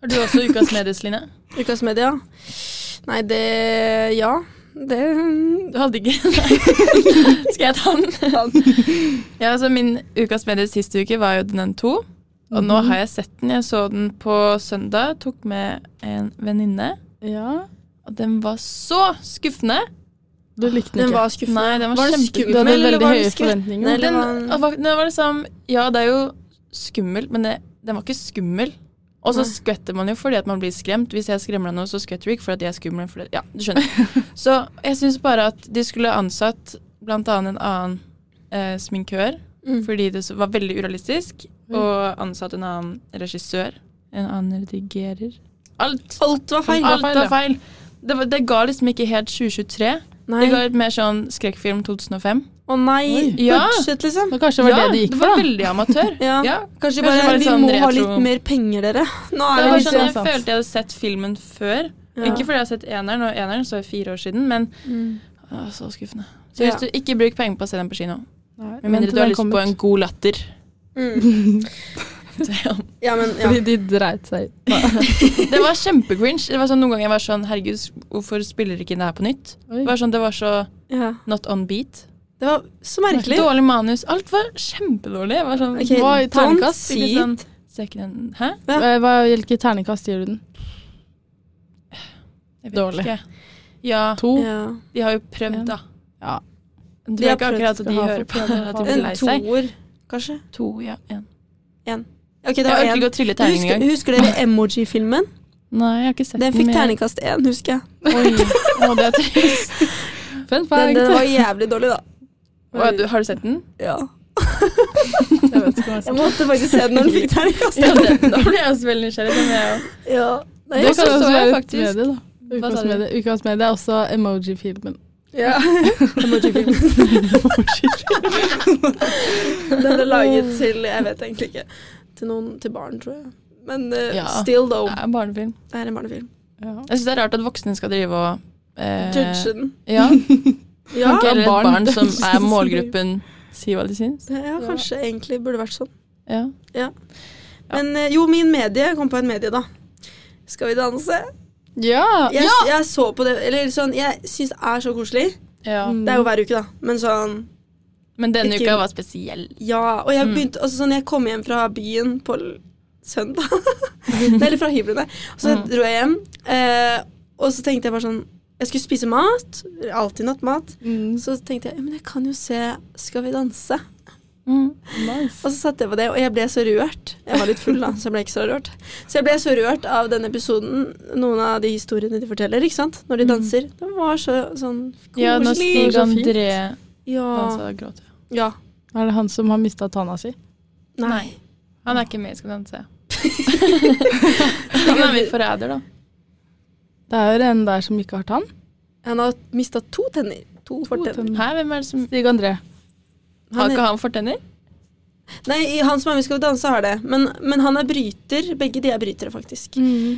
S3: Har du også ukas medies, Line?
S1: Ukas media. Nei, det Ja. Det
S3: (laughs) Du hadde ikke? (laughs) Nei. Skal jeg ta den?
S1: (laughs)
S3: Ja, altså Min ukas medie sist uke var jo den to. Og nå
S1: Mm.
S3: har jeg sett den. Jeg så den på søndag. Tok med en venninne.
S2: Ja.
S3: Og den var så skuffende!
S2: Du likte den
S1: Den
S2: ikke.
S1: var skuffende.
S3: Nei, den var,
S1: Var det
S2: Du
S3: kjempeskummel.
S2: hadde
S1: Eller
S2: veldig
S1: var det
S2: høye
S1: skrekken?
S2: forventninger.
S1: Eller
S3: Den,
S1: var-
S3: var- den var liksom Ja, det er jo skummel, men det, den var ikke skummel. Og så
S1: Nei.
S3: skvetter man jo fordi at man blir skremt. Hvis jeg skremmer deg nå, så skvetter du ikke fordi at jeg er skummel. Fordi, ja,
S2: (laughs)
S3: du skjønner. Så jeg syns bare at de skulle ansatt blant annet en annen eh, sminkør
S1: Mm.
S3: fordi det så- var veldig urealistisk,
S2: Mm.
S3: og ansatt en annen regissør. En annen redigerer. Alt!
S1: Alt var feil.
S3: Alt
S2: ja.
S3: var feil. Det, var, det ga liksom ikke helt 2023.
S1: Nei.
S3: Det ga litt mer sånn skrekkfilm 2005.
S1: Å nei.
S3: Oi. Ja.
S1: Budsjett, liksom.
S2: Men kanskje det var
S3: ja,
S2: det det gikk for,
S3: det var
S2: da.
S3: veldig amatør.
S1: Ja.
S3: ja.
S1: Kanskje
S3: Kanskje
S1: bare
S3: bare
S1: Vi
S3: sånn
S1: må ha
S3: retro-
S1: litt mer penger, dere. Nå er
S3: Det
S1: det
S3: var
S1: litt
S3: sånn, Jeg
S2: sant.
S3: følte jeg hadde sett filmen før.
S1: Ja.
S3: Ikke fordi jeg har sett eneren, og eneren så jeg fire år siden, men
S1: Mm.
S3: å, så skuffende. Så
S1: Ja.
S3: hvis du ikke bruk penger på å se den på kino,
S2: Nei,
S3: med mindre
S2: vent til
S3: du har
S2: den
S3: lyst
S2: kommer
S3: på
S2: (laughs)
S3: en
S2: ut.
S3: god
S1: (laughs)
S3: latter
S1: Mm. Ja, men ja.
S2: Fordi de dreit seg ut.
S3: Det var kjempegringe. Det var sånn, noen ganger jeg var sånn Herregud, hvorfor spiller ikke det her på nytt?
S2: Oi.
S3: Det var, sånn, det var så
S1: ja.
S3: not on beat.
S1: Det var så merkelig.
S3: Dårlig manus. Alt var kjempedårlig. Jeg var sånn
S1: Ok,
S2: Hva i
S1: don't
S2: terningkast?
S1: see
S3: Ikke sånn,
S1: it.
S3: ser ikke den Hæ?
S2: Eh, Hva, hvilket terningkast gir du den?
S3: Jeg vet
S2: Dårlig.
S3: ikke. Ja,
S2: To?
S1: (laughs) Ja.
S3: de har jo prøvd,
S2: En.
S3: da.
S2: Ja.
S3: Jeg
S1: De
S3: tror
S1: har
S3: ikke
S1: prøvd.
S3: akkurat at
S2: Det
S3: de
S2: har
S3: hører
S2: fått
S3: på.
S2: prøvd.
S3: At de blir
S1: En
S3: lei seg.
S1: toer, kanskje?
S3: To, ja. En.
S1: Ok, det
S3: Jeg
S1: var
S3: orker
S1: én.
S3: ikke å trille terning
S1: Husker,
S3: engang.
S1: husker dere emoji-filmen?
S3: Nei, jeg har ikke sett
S1: Den fikk (laughs) terningkast én, husker jeg.
S3: Oi, å, det er trist.
S2: Fun
S1: Den,
S2: fact.
S1: den var jævlig dårlig, da.
S3: Å, du, har du sett den?
S1: Ja.
S2: Jeg vet ikke hva jeg
S1: Jeg
S2: skal-
S1: måtte faktisk se den når den fikk terningkast én.
S3: det, da ble jeg også veldig nysgjerrig. Den er jo-
S1: Ja. Nei,
S2: Det
S3: Det
S2: kan
S3: så
S2: også
S3: jeg
S2: være
S3: faktisk.
S2: ukas medie, da.
S3: Hva sa
S2: (laughs) Ukas
S3: du?
S2: medie. Ukas medie er også emoji-filmen.
S1: ja. Emoji-film. Den er laget til Jeg vet egentlig ikke. Til noen til barn, tror jeg. Men eh,
S3: Ja.
S1: still, though.
S3: Det er en barnefilm.
S1: Det er en barnefilm.
S2: (laughs) Ja.
S3: Jeg syns det er rart at voksne skal drive og eh,
S1: Judge den.
S2: (laughs)
S3: Ja,
S1: Ja,
S3: Eller et
S2: barn.
S3: barn som er målgruppen, si hva de Mm. syns.
S1: det, ja, kanskje egentlig burde vært sånn.
S3: Ja.
S1: Men eh, jo, min medie. Jeg kom på en medie, da. Skal vi danse?
S2: ja.
S1: Jeg, jeg så på det Eller sånn, jeg syns det er så koselig.
S2: Mm.
S1: Det er jo hver uke, da. Men sånn
S3: Men denne
S1: Ikke-
S3: uka var spesiell.
S1: Ja. Og jeg
S3: Mm.
S1: begynte altså, sånn, Jeg kom hjem fra byen på l-
S3: (laughs)
S1: søndag. Nei, eller fra hyblene. Og så
S3: Mm.
S1: dro jeg hjem, eh, og så tenkte jeg bare sånn Jeg skulle spise mat, alltid nattmat.
S2: Mm,
S1: Så tenkte jeg ja, men jeg kan jo se Skal vi danse.
S3: Mm.
S2: Nice.
S1: Og så satte jeg på det, og jeg ble så rørt. Jeg var litt full, da, så jeg ble ikke så rørt. Så jeg ble så rørt av den episoden, noen av de historiene de forteller, ikke sant? når de danser. Det var så sånn koselig.
S3: Mm. Ja, når Stig
S2: Så fint.
S3: André
S1: Ja.
S3: dansa, gråt jeg.
S1: ja.
S2: Er det han som har mista tanna si?
S1: Nei.
S3: Han er ikke med i Skal vi danse. Han er min forræder, da.
S2: Det er jo en der som ikke har tann.
S1: Han har mista to tenner. To fortenner.
S3: Hæ, hvem er det som
S2: Stig André.
S3: Har
S1: Han
S3: ikke
S1: er,
S3: han fortenner?
S1: nei, i han som er med i Skal vi danse, har det. Men, men han er bryter. Begge de er brytere, faktisk.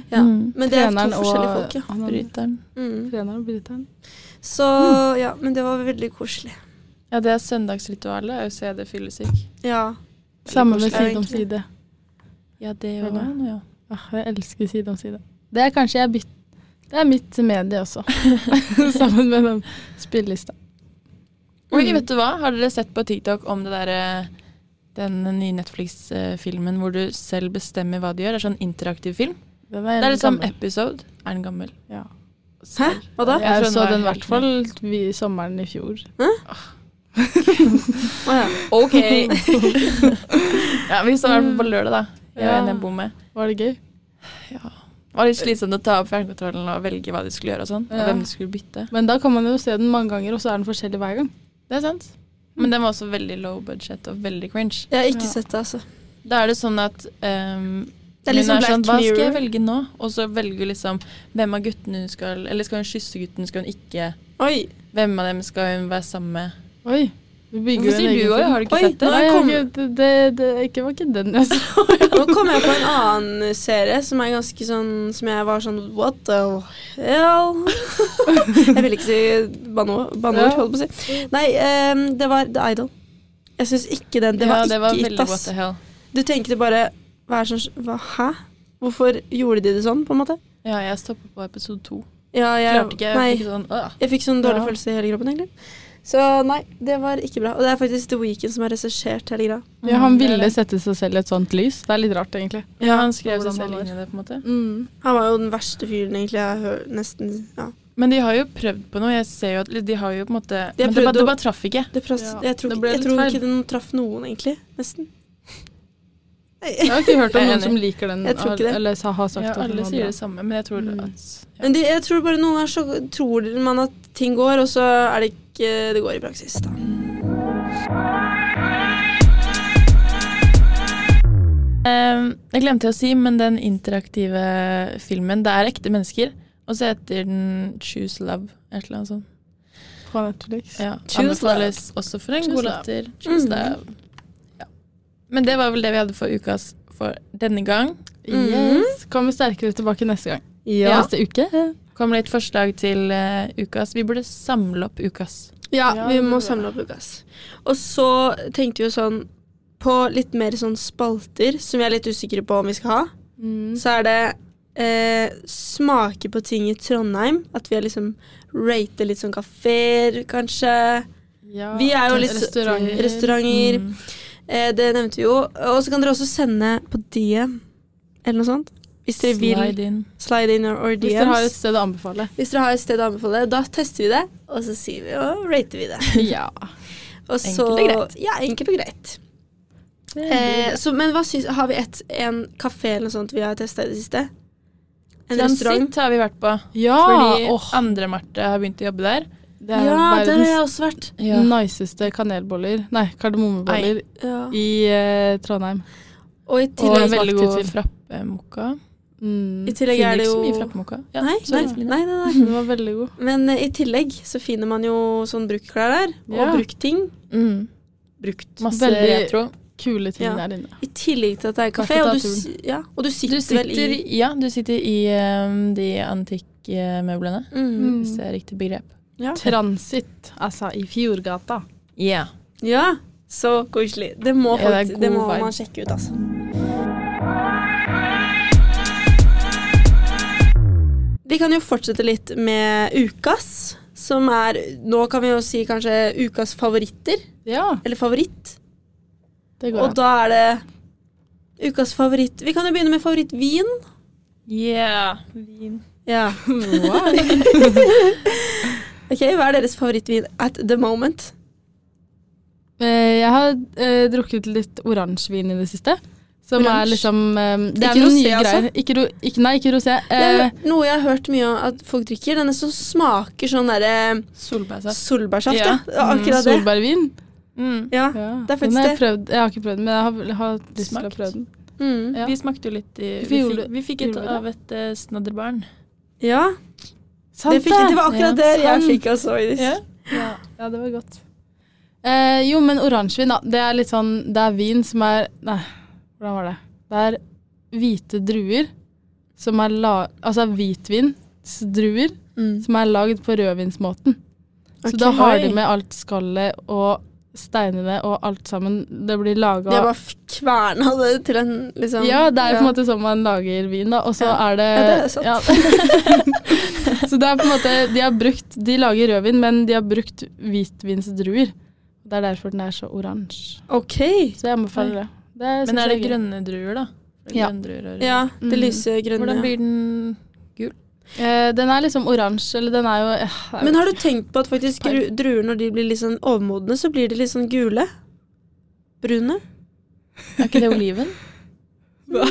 S1: Ja.
S3: Mm.
S1: Men det er to
S2: Treneren og-
S1: forskjellige folk, ja.
S2: han andre-
S3: Bryteren.
S1: Mm.
S2: Treneren og bryteren.
S1: Så
S3: Mm.
S1: ja, men det var veldig koselig.
S3: Ja, det er søndagsritualet. Er jo å se det fyllesyk.
S1: Ja.
S2: Samme
S1: koselig,
S2: ved side om
S1: egentlig.
S2: side.
S3: Ja, det
S2: Føler
S3: var
S2: jeg.
S3: han, ja.
S2: Åh, Ah, jeg elsker side om side. Det er kanskje jeg byt, Det er mitt medie
S3: (laughs)
S2: også. Sammen med den spillelista.
S3: Oi,
S1: Mm.
S3: vet du hva? Har dere sett på TikTok om det derre den nye Netflix-filmen hvor du selv bestemmer hva du gjør. Det er sånn interaktiv film.
S2: Den
S3: Det er
S2: litt
S3: liksom
S2: gammel.
S3: episode. Er den gammel?
S2: Ja.
S1: Hæ? Hva da?
S2: Jeg
S3: tror
S2: så
S3: var
S2: den i
S3: helt
S2: hvert fall vi- sommeren i fjor.
S1: Å ja.
S3: ny. OK! (laughs) ja, vi så den i hvert fall på lørdag, da. Jeg og
S2: Ja.
S3: en jeg bor med.
S2: Var det gøy?
S3: Det var litt slitsomt å ta opp fjernkontrollen og velge hva du skulle gjøre og sånn. Og
S2: Ja.
S3: hvem du skulle bytte.
S2: Men da kan man jo se den mange ganger, og så er den forskjellig hver gang.
S3: Det er sant. Men den var også veldig low budget og veldig cringe.
S1: Jeg har ikke
S2: Ja.
S1: sett det, altså.
S3: Da er det sånn at ehm,
S1: Det er litt
S3: hun
S1: sånn
S3: sånn,
S1: Black
S3: Hva skal jeg
S1: Mirror.
S3: velge nå? Og så velger hun liksom hvem av guttene hun skal Eller skal hun kysse gutten, skal hun ikke
S1: Oi.
S3: Hvem av dem skal hun være sammen med?
S2: Oi. Vi bygger
S3: Hvorfor
S2: jo en
S3: sier
S2: egen
S3: du òg?
S2: film.
S3: Har du ikke
S1: Oi,
S3: sett
S1: nei.
S3: det?
S2: Nei, jeg har
S1: kom.
S2: ikke, det, det, det ikke, var ikke den jeg så.
S3: (laughs)
S1: Nå kom jeg på en annen serie som er ganske sånn Som jeg var sånn What the hell? (laughs) jeg ville ikke si banneord, banneord,
S2: Ja.
S1: holdt på å si. Nei, ehm, det var The Idol. Jeg syns ikke den Det
S3: ja,
S1: var
S3: det var
S1: ikke
S3: veldig
S1: it,
S3: what
S1: ass.
S3: the hell.
S1: Du tenkte bare Hva er sånn hva, Hæ? Hvorfor gjorde de det sånn, på en måte?
S3: Ja, jeg stoppa på episode to.
S1: Ja, jeg
S3: Klarte ikke.
S1: Nei.
S3: Jeg fikk sånn «Åh».
S1: Jeg fikk sånn dårlig
S2: Ja.
S1: følelse i hele kroppen, egentlig. Så nei, det var ikke bra. Og det er faktisk The Weeknd som har regissert hele greia.
S2: Ja, han
S3: Mm, det er
S2: ville
S3: det.
S2: sette seg selv i et sånt lys. Det er litt rart, egentlig.
S3: Ja, han skrev
S2: hvordan
S3: seg selv
S2: han
S3: inn i det, på en måte.
S1: Han var jo den verste fyren, egentlig. Jeg har hørt nesten Ja.
S3: Men de har jo prøvd på noe. Jeg ser jo at De har jo på en måte
S1: De har
S3: Men det
S1: prøvd
S3: bare,
S1: å-
S3: det bare traff ikke.
S1: Det plass,
S2: Ja,
S1: jeg tror,
S2: det
S1: ikke,
S2: ble
S1: jeg
S2: litt
S1: tror
S2: feil.
S1: ikke den traff noen, egentlig. Nesten.
S2: Jeg har ikke hørt om
S3: Jeg er
S2: noen
S3: enig.
S2: som liker den,
S1: Jeg tror ikke det.
S2: eller sa- har sagt
S3: Ja,
S2: at den
S3: alle
S2: var
S3: sier
S2: bra.
S3: det samme, men jeg tror
S2: Mm.
S3: at ja.
S1: Men det, jeg tror bare noen ganger så tror man at ting går, og så er det ikke det går i praksis. da.
S3: Ehm, Jeg glemte å si, men den interaktive filmen, det er ekte mennesker. Og så heter den Choose Love, et eller annet sånt.
S2: På Netflix.
S3: Ja,
S1: Choose Love.
S3: anbefales også for en
S2: Choose
S3: god
S2: Love.
S3: latter. Choose
S1: Mm.
S3: Love. Ja. Men det var vel det vi hadde for ukas for denne gang.
S2: Mhm. Yes. Kommer sterkere tilbake neste gang.
S1: Ja.
S2: Neste uke.
S3: Kom litt forslag til eh, ukas. Vi burde samle opp ukas.
S1: ja,
S2: Ja,
S1: vi
S2: det
S1: må
S2: tror jeg.
S1: samle opp Lukas. Og så tenkte vi jo sånn på litt mer sånn spalter som vi er litt usikre på om vi skal ha.
S2: Mm.
S1: Så er det eh, smake på ting i Trondheim. At vi er liksom rater litt sånn kafeer, kanskje.
S2: Ja.
S1: Vi er jo litt så-
S2: Restauranter.
S1: Restauranter.
S3: Mm.
S1: Eh, det nevnte vi jo. Og så kan dere også sende på DM eller noe sånt. Hvis dere vil slide,
S3: Slide in.
S1: in or, or DMs.
S2: Hvis dere har et sted å
S1: (laughs)
S2: anbefale.
S1: Hvis dere har et sted å anbefale, da tester vi det, og så sier vi og rater vi det.
S2: ja.
S1: Og så,
S3: Enkelt og greit.
S1: Ja, enkelt og greit. Eh, så, men hva syns, har vi et, en kafé eller noe sånt vi har testa i det siste? En restaurant?
S3: Transit har vi vært på.
S2: Ja,
S3: Fordi
S2: Ah, åh,
S3: andre Marte har begynt å jobbe der.
S2: det
S1: ja,
S2: er
S1: der har
S2: verdens
S1: jeg også vært.
S2: niceste kanelboller, nei, kardemommeboller
S1: Ja.
S2: i eh, Trondheim.
S1: Og i
S3: Og
S1: tillegg,
S3: en veldig
S2: smakte
S3: god
S2: til.
S3: frappemokka.
S2: Mm.
S1: i tillegg er det
S3: ikke
S1: jo
S3: så mye frappemokka. Ja,
S1: nei, nei,
S3: sorry, Celine.
S1: nei, nei, nei.
S2: Den var veldig god.
S1: Men eh, i tillegg så finner man jo sånn bruktklær der, og
S2: Ja.
S1: brukt ting.
S3: Mm.
S1: Brukt.
S3: Masse
S2: Veldig-
S3: retro.
S2: Kule ting
S1: Ja.
S2: der inne.
S1: I tillegg til at det er kafé,
S2: Verdt å ta
S1: og du, s-
S2: turen.
S1: ja, og du
S3: Du
S1: sitter,
S3: sitter,
S1: vel i
S3: i- ja, du sitter i ehm, de antikkmøblene,
S1: mm.
S3: hvis det er riktig begrep.
S1: ja.
S2: Transit, altså i Fjordgata.
S3: Ja.
S1: Ja, så koselig. Det må,
S3: Ja, det er
S1: folk, det
S3: god
S1: må
S3: vibe.
S1: man sjekke ut, altså. Vi kan jo fortsette litt med ukas, som er Nå kan vi jo si kanskje ukas favoritter,
S2: Ja,
S1: eller favoritt.
S2: det går
S1: Og
S2: (laughs) an.
S1: da er det ukas favoritt Vi kan jo begynne med favorittvin.
S3: Yeah. Vin.
S1: Ja. ok, hva er deres favorittvin at the moment?
S2: Eh, Jeg har eh, drukket litt oransjevin i det siste. Som
S1: Oransje?
S2: er liksom eh, Det
S1: Ikke
S2: er noen
S1: rosé,
S2: nye
S1: altså?
S2: greier. Ikke, ro, ikke, nei, ikke rosé.
S1: Det er
S2: Eh,
S1: noe jeg har hørt mye om at folk drikker. Denne som smaker sånn derre
S3: Solbærsaft.
S1: solbærsaft.
S3: Ja.
S1: Ja. Det var akkurat det.
S2: Solbærvin.
S3: Mm.
S1: Ja.
S2: Ja.
S1: det er faktisk
S2: den har jeg,
S1: det.
S2: prøvd. jeg har ikke prøvd den, men jeg har, har lyst til
S3: Smakt.
S2: å prøve den.
S1: Mm.
S2: Ja.
S3: Vi smakte jo litt i Vi
S2: Vi
S3: fikk,
S2: gjorde-
S3: vi fikk et
S2: gjorde det.
S3: av et eh, snadderbarn.
S1: ja.
S2: Sant
S1: det, fikk, det var
S3: Ja,
S1: akkurat det jeg
S2: sant.
S1: fikk også. i det.
S3: Ja.
S2: Ja, det var godt. Eh, jo, men oransjevin, da. Det er litt sånn Det er vin som er Nei, hvordan var det? Det er hvite druer som er la... Altså hvitvinsdruer
S1: Mm.
S2: som er lagd på rødvinsmåten.
S1: Ok.
S2: Så da har de
S3: Oi.
S2: med alt skallet og steinene og alt sammen. Det blir laga
S1: Jeg bare f- kverna det til en liksom
S2: Ja, det er jo på en måte sånn man lager vin, da. Og så
S1: Ja.
S2: er det
S1: Ja, det er sant.
S2: ja. (laughs) så det er på en måte De har brukt De lager rødvin, men de har brukt hvitvinsdruer. Det er derfor den er så oransje.
S1: OK.
S2: Så jeg anbefaler det. det
S3: Men
S2: synes
S3: er det
S2: jeg gøy.
S3: grønne druer, da?
S2: Ja.
S3: Grønne druer og røde.
S1: Ja, det
S2: Mm.
S1: lyse grønne.
S3: Hvordan blir den
S2: Eh, den er liksom oransje, eller den er jo eh, jeg vet
S1: Men har du tenkt på at faktisk
S2: Peil.
S1: gru- druer når de blir litt sånn overmodne, så blir de litt sånn gule? Brune?
S3: Er ikke det oliven?
S1: (laughs) Nei!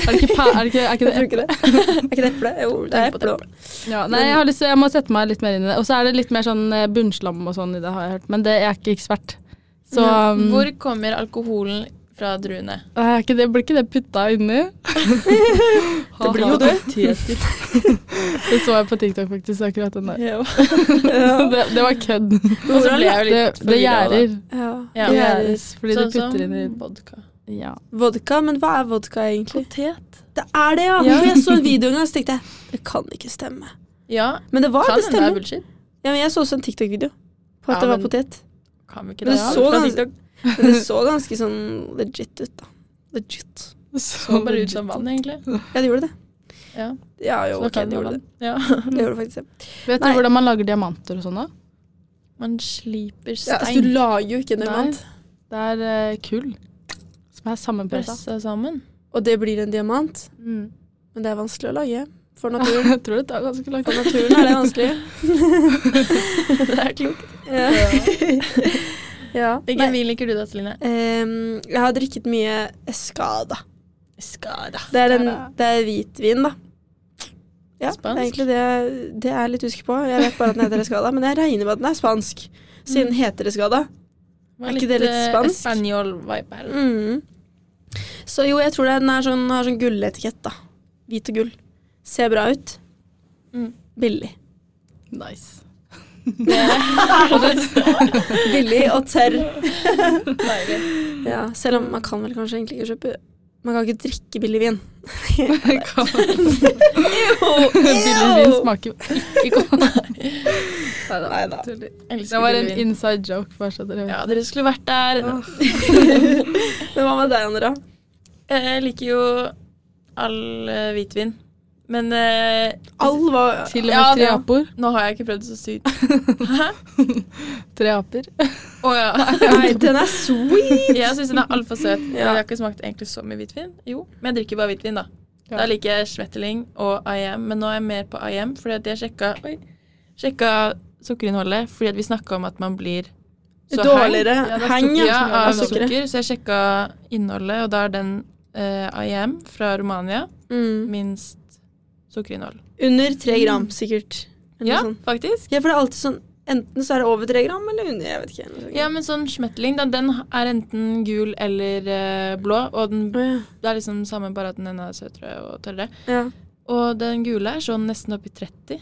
S2: ikke. er det ikke, pa- er det ikke, er ikke
S1: Jeg tror
S2: det?
S1: ikke det. Er ikke det eple? Jo, det er
S3: Tenk på
S1: eple.
S3: det
S1: også.
S2: Ja, nei, jeg, har lyst, til- jeg må sette meg litt mer inn i det. Og så er det litt mer sånn eh, bunnslam og sånn i det, har jeg hørt. Men det jeg er ikke ekspert. Så um,
S3: Hvor kommer alkoholen fra druene?
S2: er ikke det, blir ikke det putta inni?
S1: Det blir jo
S3: (laughs)
S2: det. det så jeg på TikTok faktisk, akkurat den der.
S1: Ja.
S2: (laughs) Det, det var kødd.
S3: Og så ble jeg
S2: Det,
S3: jo litt
S2: det
S3: forvirret av det.
S2: gjerder.
S1: Ja.
S3: Ja.
S2: Det gjerdes fordi
S3: Sånn
S2: du putter inn i
S3: som vodka.
S2: ja.
S1: Vodka, men hva er vodka egentlig?
S3: Potet.
S1: Det er det, ja!
S2: Ja.
S1: For jeg så en video en gang, så tenkte jeg det kan ikke stemme.
S3: Ja,
S1: Men det var
S3: kan
S1: det
S3: hende det er
S1: stemmer.
S3: bullshit.
S1: Ja, men jeg så også en TikTok-video på
S3: Ja,
S1: at det var
S3: men-
S1: potet.
S3: Kan vi ikke
S1: Men
S3: det?
S1: det
S3: Ja,
S1: så
S3: fra
S1: gans-
S3: TikTok.
S1: (laughs) Men det så ganske sånn legit ut, da. Legit.
S2: (laughs)
S3: så bare ut som vann, egentlig.
S1: Ja, det gjorde det.
S3: Ja.
S1: Ja, jo,
S3: Så
S1: ok, det
S3: kan man
S1: gjorde det.
S3: Ja.
S1: (laughs) Det gjorde det faktisk det.
S2: Vet
S1: Nei.
S2: du hvordan man lager diamanter og sånn, da?
S3: Man sliper
S1: Ja, altså, du
S3: stein
S1: lager jo ikke en
S2: Nei.
S1: diamant,
S2: Det er eh, kull som er sammenpressa.
S3: pressa sammen.
S1: og det blir en diamant.
S2: Mm.
S1: Men det er vanskelig å lage. For naturen,
S2: (laughs)
S3: (laughs)
S2: Jeg tror det tar ganske lang
S1: for naturen er det vanskelig.
S3: det er
S1: (laughs)
S3: klokt.
S1: Ja. (laughs) ja.
S3: Hvilken vin liker du da, Celine?
S1: Ehm, jeg har drikket mye Escada.
S3: Skada.
S1: Ah, Det er, en,
S2: Escada.
S1: det er hvitvin, da. Ja, det er
S3: Spansk?
S1: egentlig det, jeg- det jeg er litt usikker på. Jeg vet bare at den heter Escada, men jeg regner med at den er spansk. Siden den heter Escada. Er ikke det litt spansk?
S3: Spanjol-vibe eh, her.
S1: Mm. Så jo, jeg tror den er sånn, har sånn gulletikett, da. Hvit og gull. Ser bra ut.
S3: Mm.
S1: Billig.
S2: (laughs) Nice.
S1: Billig og tørr.
S3: Deilig.
S1: (laughs) Ja, selv om man kan vel kanskje egentlig ikke kjøpe Man kan ikke drikke billig vin.
S2: (laughs) Billig vin smaker jo ikke godt.
S1: Nei da.
S2: Tuller.
S3: Elsker
S2: Det var en
S3: billig vin.
S2: inside joke. Bare så dere vet.
S3: Ja, dere skulle vært der.
S1: Men hva med deg, Andrea?
S3: Eh, Jeg liker jo all eh, hvitvin. Men eh,
S1: All var
S2: Til og med
S3: Ja,
S2: tre
S3: ja.
S2: apor.
S3: nå har jeg ikke prøvd så sykt. Hæ?
S2: Tre aper.
S3: Å ja.
S1: Nei, den er sweet!
S3: (laughs) Jeg syns den er altfor søt.
S1: Ja.
S3: Jeg har ikke smakt egentlig så mye hvitvin. Jo, men jeg drikker bare hvitvin, da.
S2: Ja.
S3: Da liker jeg Schmetterling og IM, men nå er jeg mer på IM fordi at jeg sjekka, oi, sjekka sukkerinnholdet fordi at vi snakka om at man blir så hang.
S1: Dårligere
S2: Ja, det er
S1: heng
S2: sukker.
S1: ja,
S3: Ja,
S1: av
S2: som gjør
S3: av
S2: det.
S1: sukkeret.
S3: sukker. Så jeg sjekka innholdet, og da er den eh, IM fra Romania
S1: Mm.
S3: minst sukkerinnhold.
S1: Under tre gram, sikkert. Eller
S3: Ja,
S1: sånn.
S3: faktisk.
S1: ja, for det er alltid sånn Enten så er det over tre gram, eller under. Jeg vet ikke. eller noe
S3: Ja, men sånn Schmetterling, da, den er enten gul eller eh, blå, og den,
S1: sånt. Å,
S3: det er liksom samme, bare at den ene er søtere og tørrere.
S1: ja.
S3: Og den gule er sånn nesten oppi 30,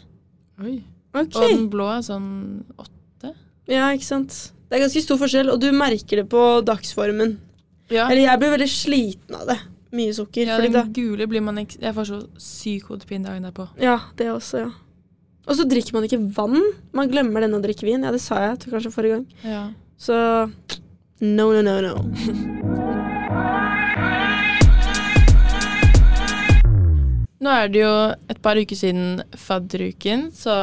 S2: Oi.
S1: ja. OK.
S3: og den blå er sånn 8.
S1: Ja, ikke sant. Det er ganske stor forskjell, og du merker det på dagsformen.
S3: Ja,
S1: Eller jeg blir veldig sliten av det. Mye sukker.
S3: ja
S1: fordi da,
S3: den gule blir man ikke Jeg får så syk hodepine dagen derpå.
S1: Ja, det også, ja. Og så drikker man ikke vann. Man glemmer denne å drikke vin. Ja, det sa jeg til kanskje forrige gang.
S3: Ja.
S1: Så no, no, no, no.
S3: Nå er det jo et par uker siden fadderuken, så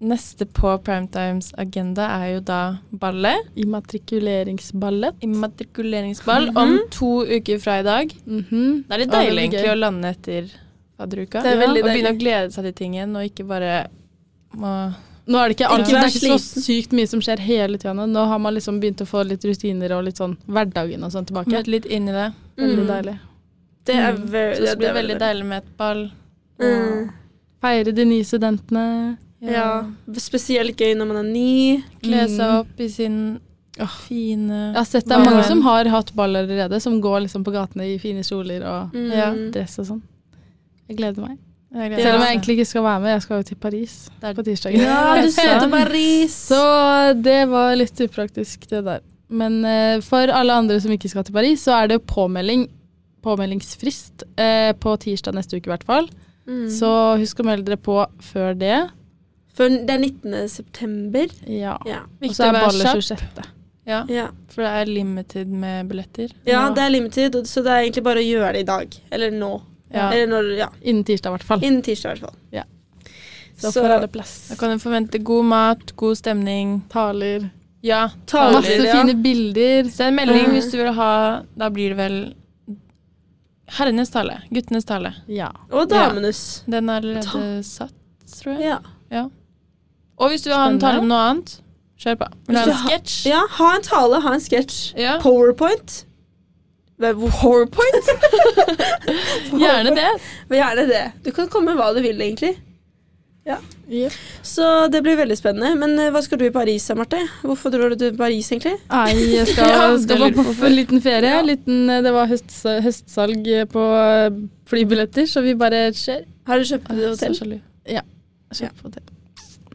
S3: neste på Primetimes agenda er jo da ballet.
S2: Immatrikuleringsballet.
S3: Immatrikuleringsball om to uker fra i dag.
S2: Mhm.
S3: Det er litt
S2: Å, det
S3: deilig
S2: blir
S3: egentlig
S2: gøy.
S3: å lande etter fadderuka.
S1: Det er
S3: Ja,
S1: veldig
S3: og begynne
S1: deilig.
S3: å glede seg til tingen, og ikke bare må
S2: Nå er det ikke, alt,
S1: Ikke
S2: det
S1: vær
S2: er ikke så
S1: sliten.
S2: sykt mye som skjer hele tida nå. Nå har man liksom begynt å få litt rutiner og litt sånn hverdagen og sånn tilbake.
S3: møte litt inn i det.
S2: Veldig
S1: Mm.
S2: deilig.
S1: Det er
S3: Mm.
S1: very,
S3: Så det blir veldig deilig med et ball.
S1: Mm.
S2: Feire de nye studentene.
S1: Ja. Spesielt gøy når man er ny.
S3: Kle
S2: Mm.
S3: seg opp i sin fine
S2: Jeg har sett det er mange
S3: Varm.
S2: som har hatt ball allerede, som går liksom på gatene i fine kjoler og
S1: Mm.
S3: Ja.
S2: dress og sånn. Jeg gleder meg.
S3: Jeg gleder
S2: Selv om
S3: meg.
S2: jeg egentlig ikke skal være med, jeg skal jo til Paris
S3: Det er-
S2: på tirsdag.
S1: Ja, du skal
S2: (laughs)
S1: til Paris!
S2: Så det var litt upraktisk, det der. Men eh, for alle andre som ikke skal til Paris, så er det påmelding. Påmeldingsfrist eh, på tirsdag neste uke, i hvert fall.
S1: Mm.
S2: Så husk å melde dere på før det.
S1: For det er 19. september.
S2: Ja.
S1: Ja.
S2: Og
S3: Viktig
S2: så
S3: å
S2: er
S3: være
S2: ballet
S3: kjapp.
S2: 26.
S3: Ja,
S1: Ja.
S3: for det er limited med billetter.
S1: ja,
S3: Nå.
S1: det er limited, og- så det er egentlig bare å gjøre det i dag. Eller nå.
S3: Ja.
S1: Eller når, ja.
S2: Innen tirsdag, i hvert fall.
S1: Innen tirsdag, i hvert fall.
S2: Ja.
S1: Så,
S2: Så får alle plass.
S3: Da kan du forvente god mat, god stemning.
S2: Taler.
S3: Ja.
S1: Taler,
S2: Masse
S1: ja.
S2: fine bilder.
S3: Send melding
S1: Mm.
S3: hvis du vil ha Da blir det vel herrenes tale. Guttenes tale.
S2: Ja.
S1: Og damenes.
S3: Den er
S1: Ta-
S3: allerede satt, tror jeg.
S1: Ja.
S3: Og hvis du vil ha en
S2: Spennende.
S3: tale om noe annet, kjør på. Vil du
S1: Hvis
S3: ha
S1: du
S3: en
S1: har-
S3: sketsj?
S1: ja. Ha en tale, ha en sketsj.
S3: Ja.
S1: Powerpoint. Hva- (laughs) Powerpoint?
S3: Gjerne det.
S1: Men Gjerne det. Du kan komme med hva du vil, egentlig. Så det blir veldig spennende. Men eh, hva skal du i Paris, Marte? Hvorfor drar du til Paris, egentlig?
S2: Nei,
S3: (laughs)
S2: jeg skal,
S3: Ja, det
S2: skal
S3: lurer
S2: bare
S3: på
S2: på
S3: hvorfor.
S2: en liten ferie. Liten, eh, det var høsts, høstsalg på eh, flybilletter, så vi bare kjører.
S1: Har du
S2: Ah,
S1: kjøpt
S3: Å, Så
S1: hotell?
S3: sjalu.
S2: Ja.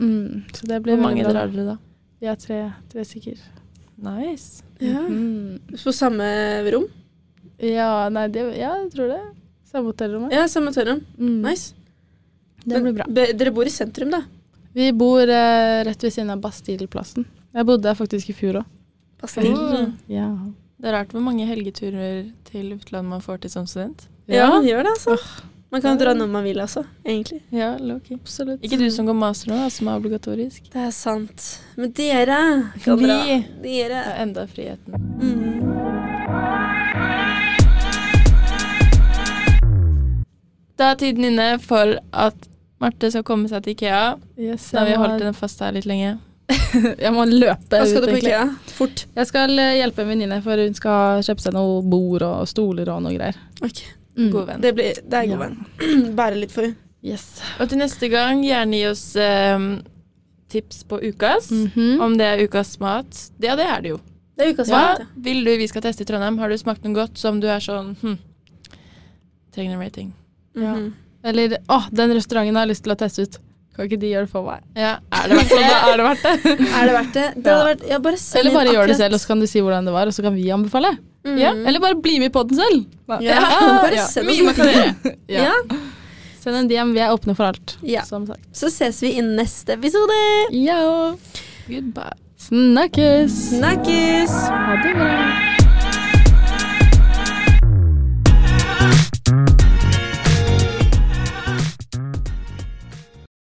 S2: Mm, så det blir
S3: Hvor mange
S2: veldig bra.
S3: drar dere, da?
S2: Vi er tre, tre stykker.
S3: Nice.
S1: Ja.
S2: Mm.
S1: På samme rom?
S2: Ja, nei, det, ja, jeg tror det. Samme hotellrommet.
S1: Ja, samme hotellrom.
S2: Mm.
S1: Nice.
S2: Det
S1: Men
S2: blir bra.
S1: be- Dere bor i sentrum, da?
S2: Vi bor eh, rett ved siden av Bastilleplassen. Jeg bodde der faktisk i fjor òg.
S1: Bastille.
S3: Mm.
S2: Ja.
S3: Det er rart hvor mange helgeturer til utlandet man får til som student.
S1: Ja, man gjør det, altså. Man kan
S3: Ja.
S1: dra når man vil, altså. Egentlig.
S3: Ja, low-key.
S2: absolutt.
S3: Ikke du som går master nå, da, som er obligatorisk.
S1: Det er sant. Men dere kan
S3: Vi
S1: dra.
S3: har
S1: Dere.
S3: enda friheten.
S1: Mm.
S3: Da er tiden inne for at Marte skal komme seg til Ikea.
S2: Yes,
S3: Da har vi
S2: jeg,
S3: holdt
S2: må,
S3: henne fast her litt lenge.
S2: jeg må løpe
S1: Hva
S2: ut,
S1: skal du på
S2: egentlig.
S1: IKEA? Fort.
S2: Jeg skal eh, hjelpe en venninne, for hun skal kjøpe seg noe bord og stoler og noe greier.
S1: Ok.
S2: Mm.
S3: God venn.
S1: Det, blir, det er
S2: Ja.
S1: god venn. (clears throat) Bære litt for henne.
S2: Yes.
S3: Og til neste gang, gjerne gi oss eh, tips på ukas.
S1: Mm.
S3: Om det er ukas mat. Ja, det er det jo.
S1: Det er ukas
S3: Hva
S1: mat, ja.
S3: vil du vi skal teste i Trondheim? Har du smakt noe godt som du er sånn hm, Trenger en rating.
S2: Ja.
S1: Mhm.
S2: Eller å, den restauranten har jeg lyst til å teste ut. Kan ikke de gjøre det for meg?
S3: Ja, er det
S2: (laughs)
S3: verdt det? er det verdt det? (laughs)
S1: Er det verdt det? det hadde vært, ja, bare send
S2: Eller
S1: inn
S2: bare gjør det
S1: akkurat-
S2: selv, og så kan du si hvordan det var, og så kan vi anbefale.
S1: Mm.
S3: Ja,
S2: Eller bare bli med på den selv.
S1: Ja, bare
S2: Ja.
S1: send
S3: Mye man kan
S1: oss.
S3: gjøre.
S1: (laughs) Ja.
S2: Ja. Send en DM, vi er åpne for alt.
S1: Ja.
S2: Som sagt.
S1: Så ses vi i neste episode.
S2: Ja.
S3: Goodbye.
S2: Snakkes.
S1: Snakkes!
S2: Ha det bra.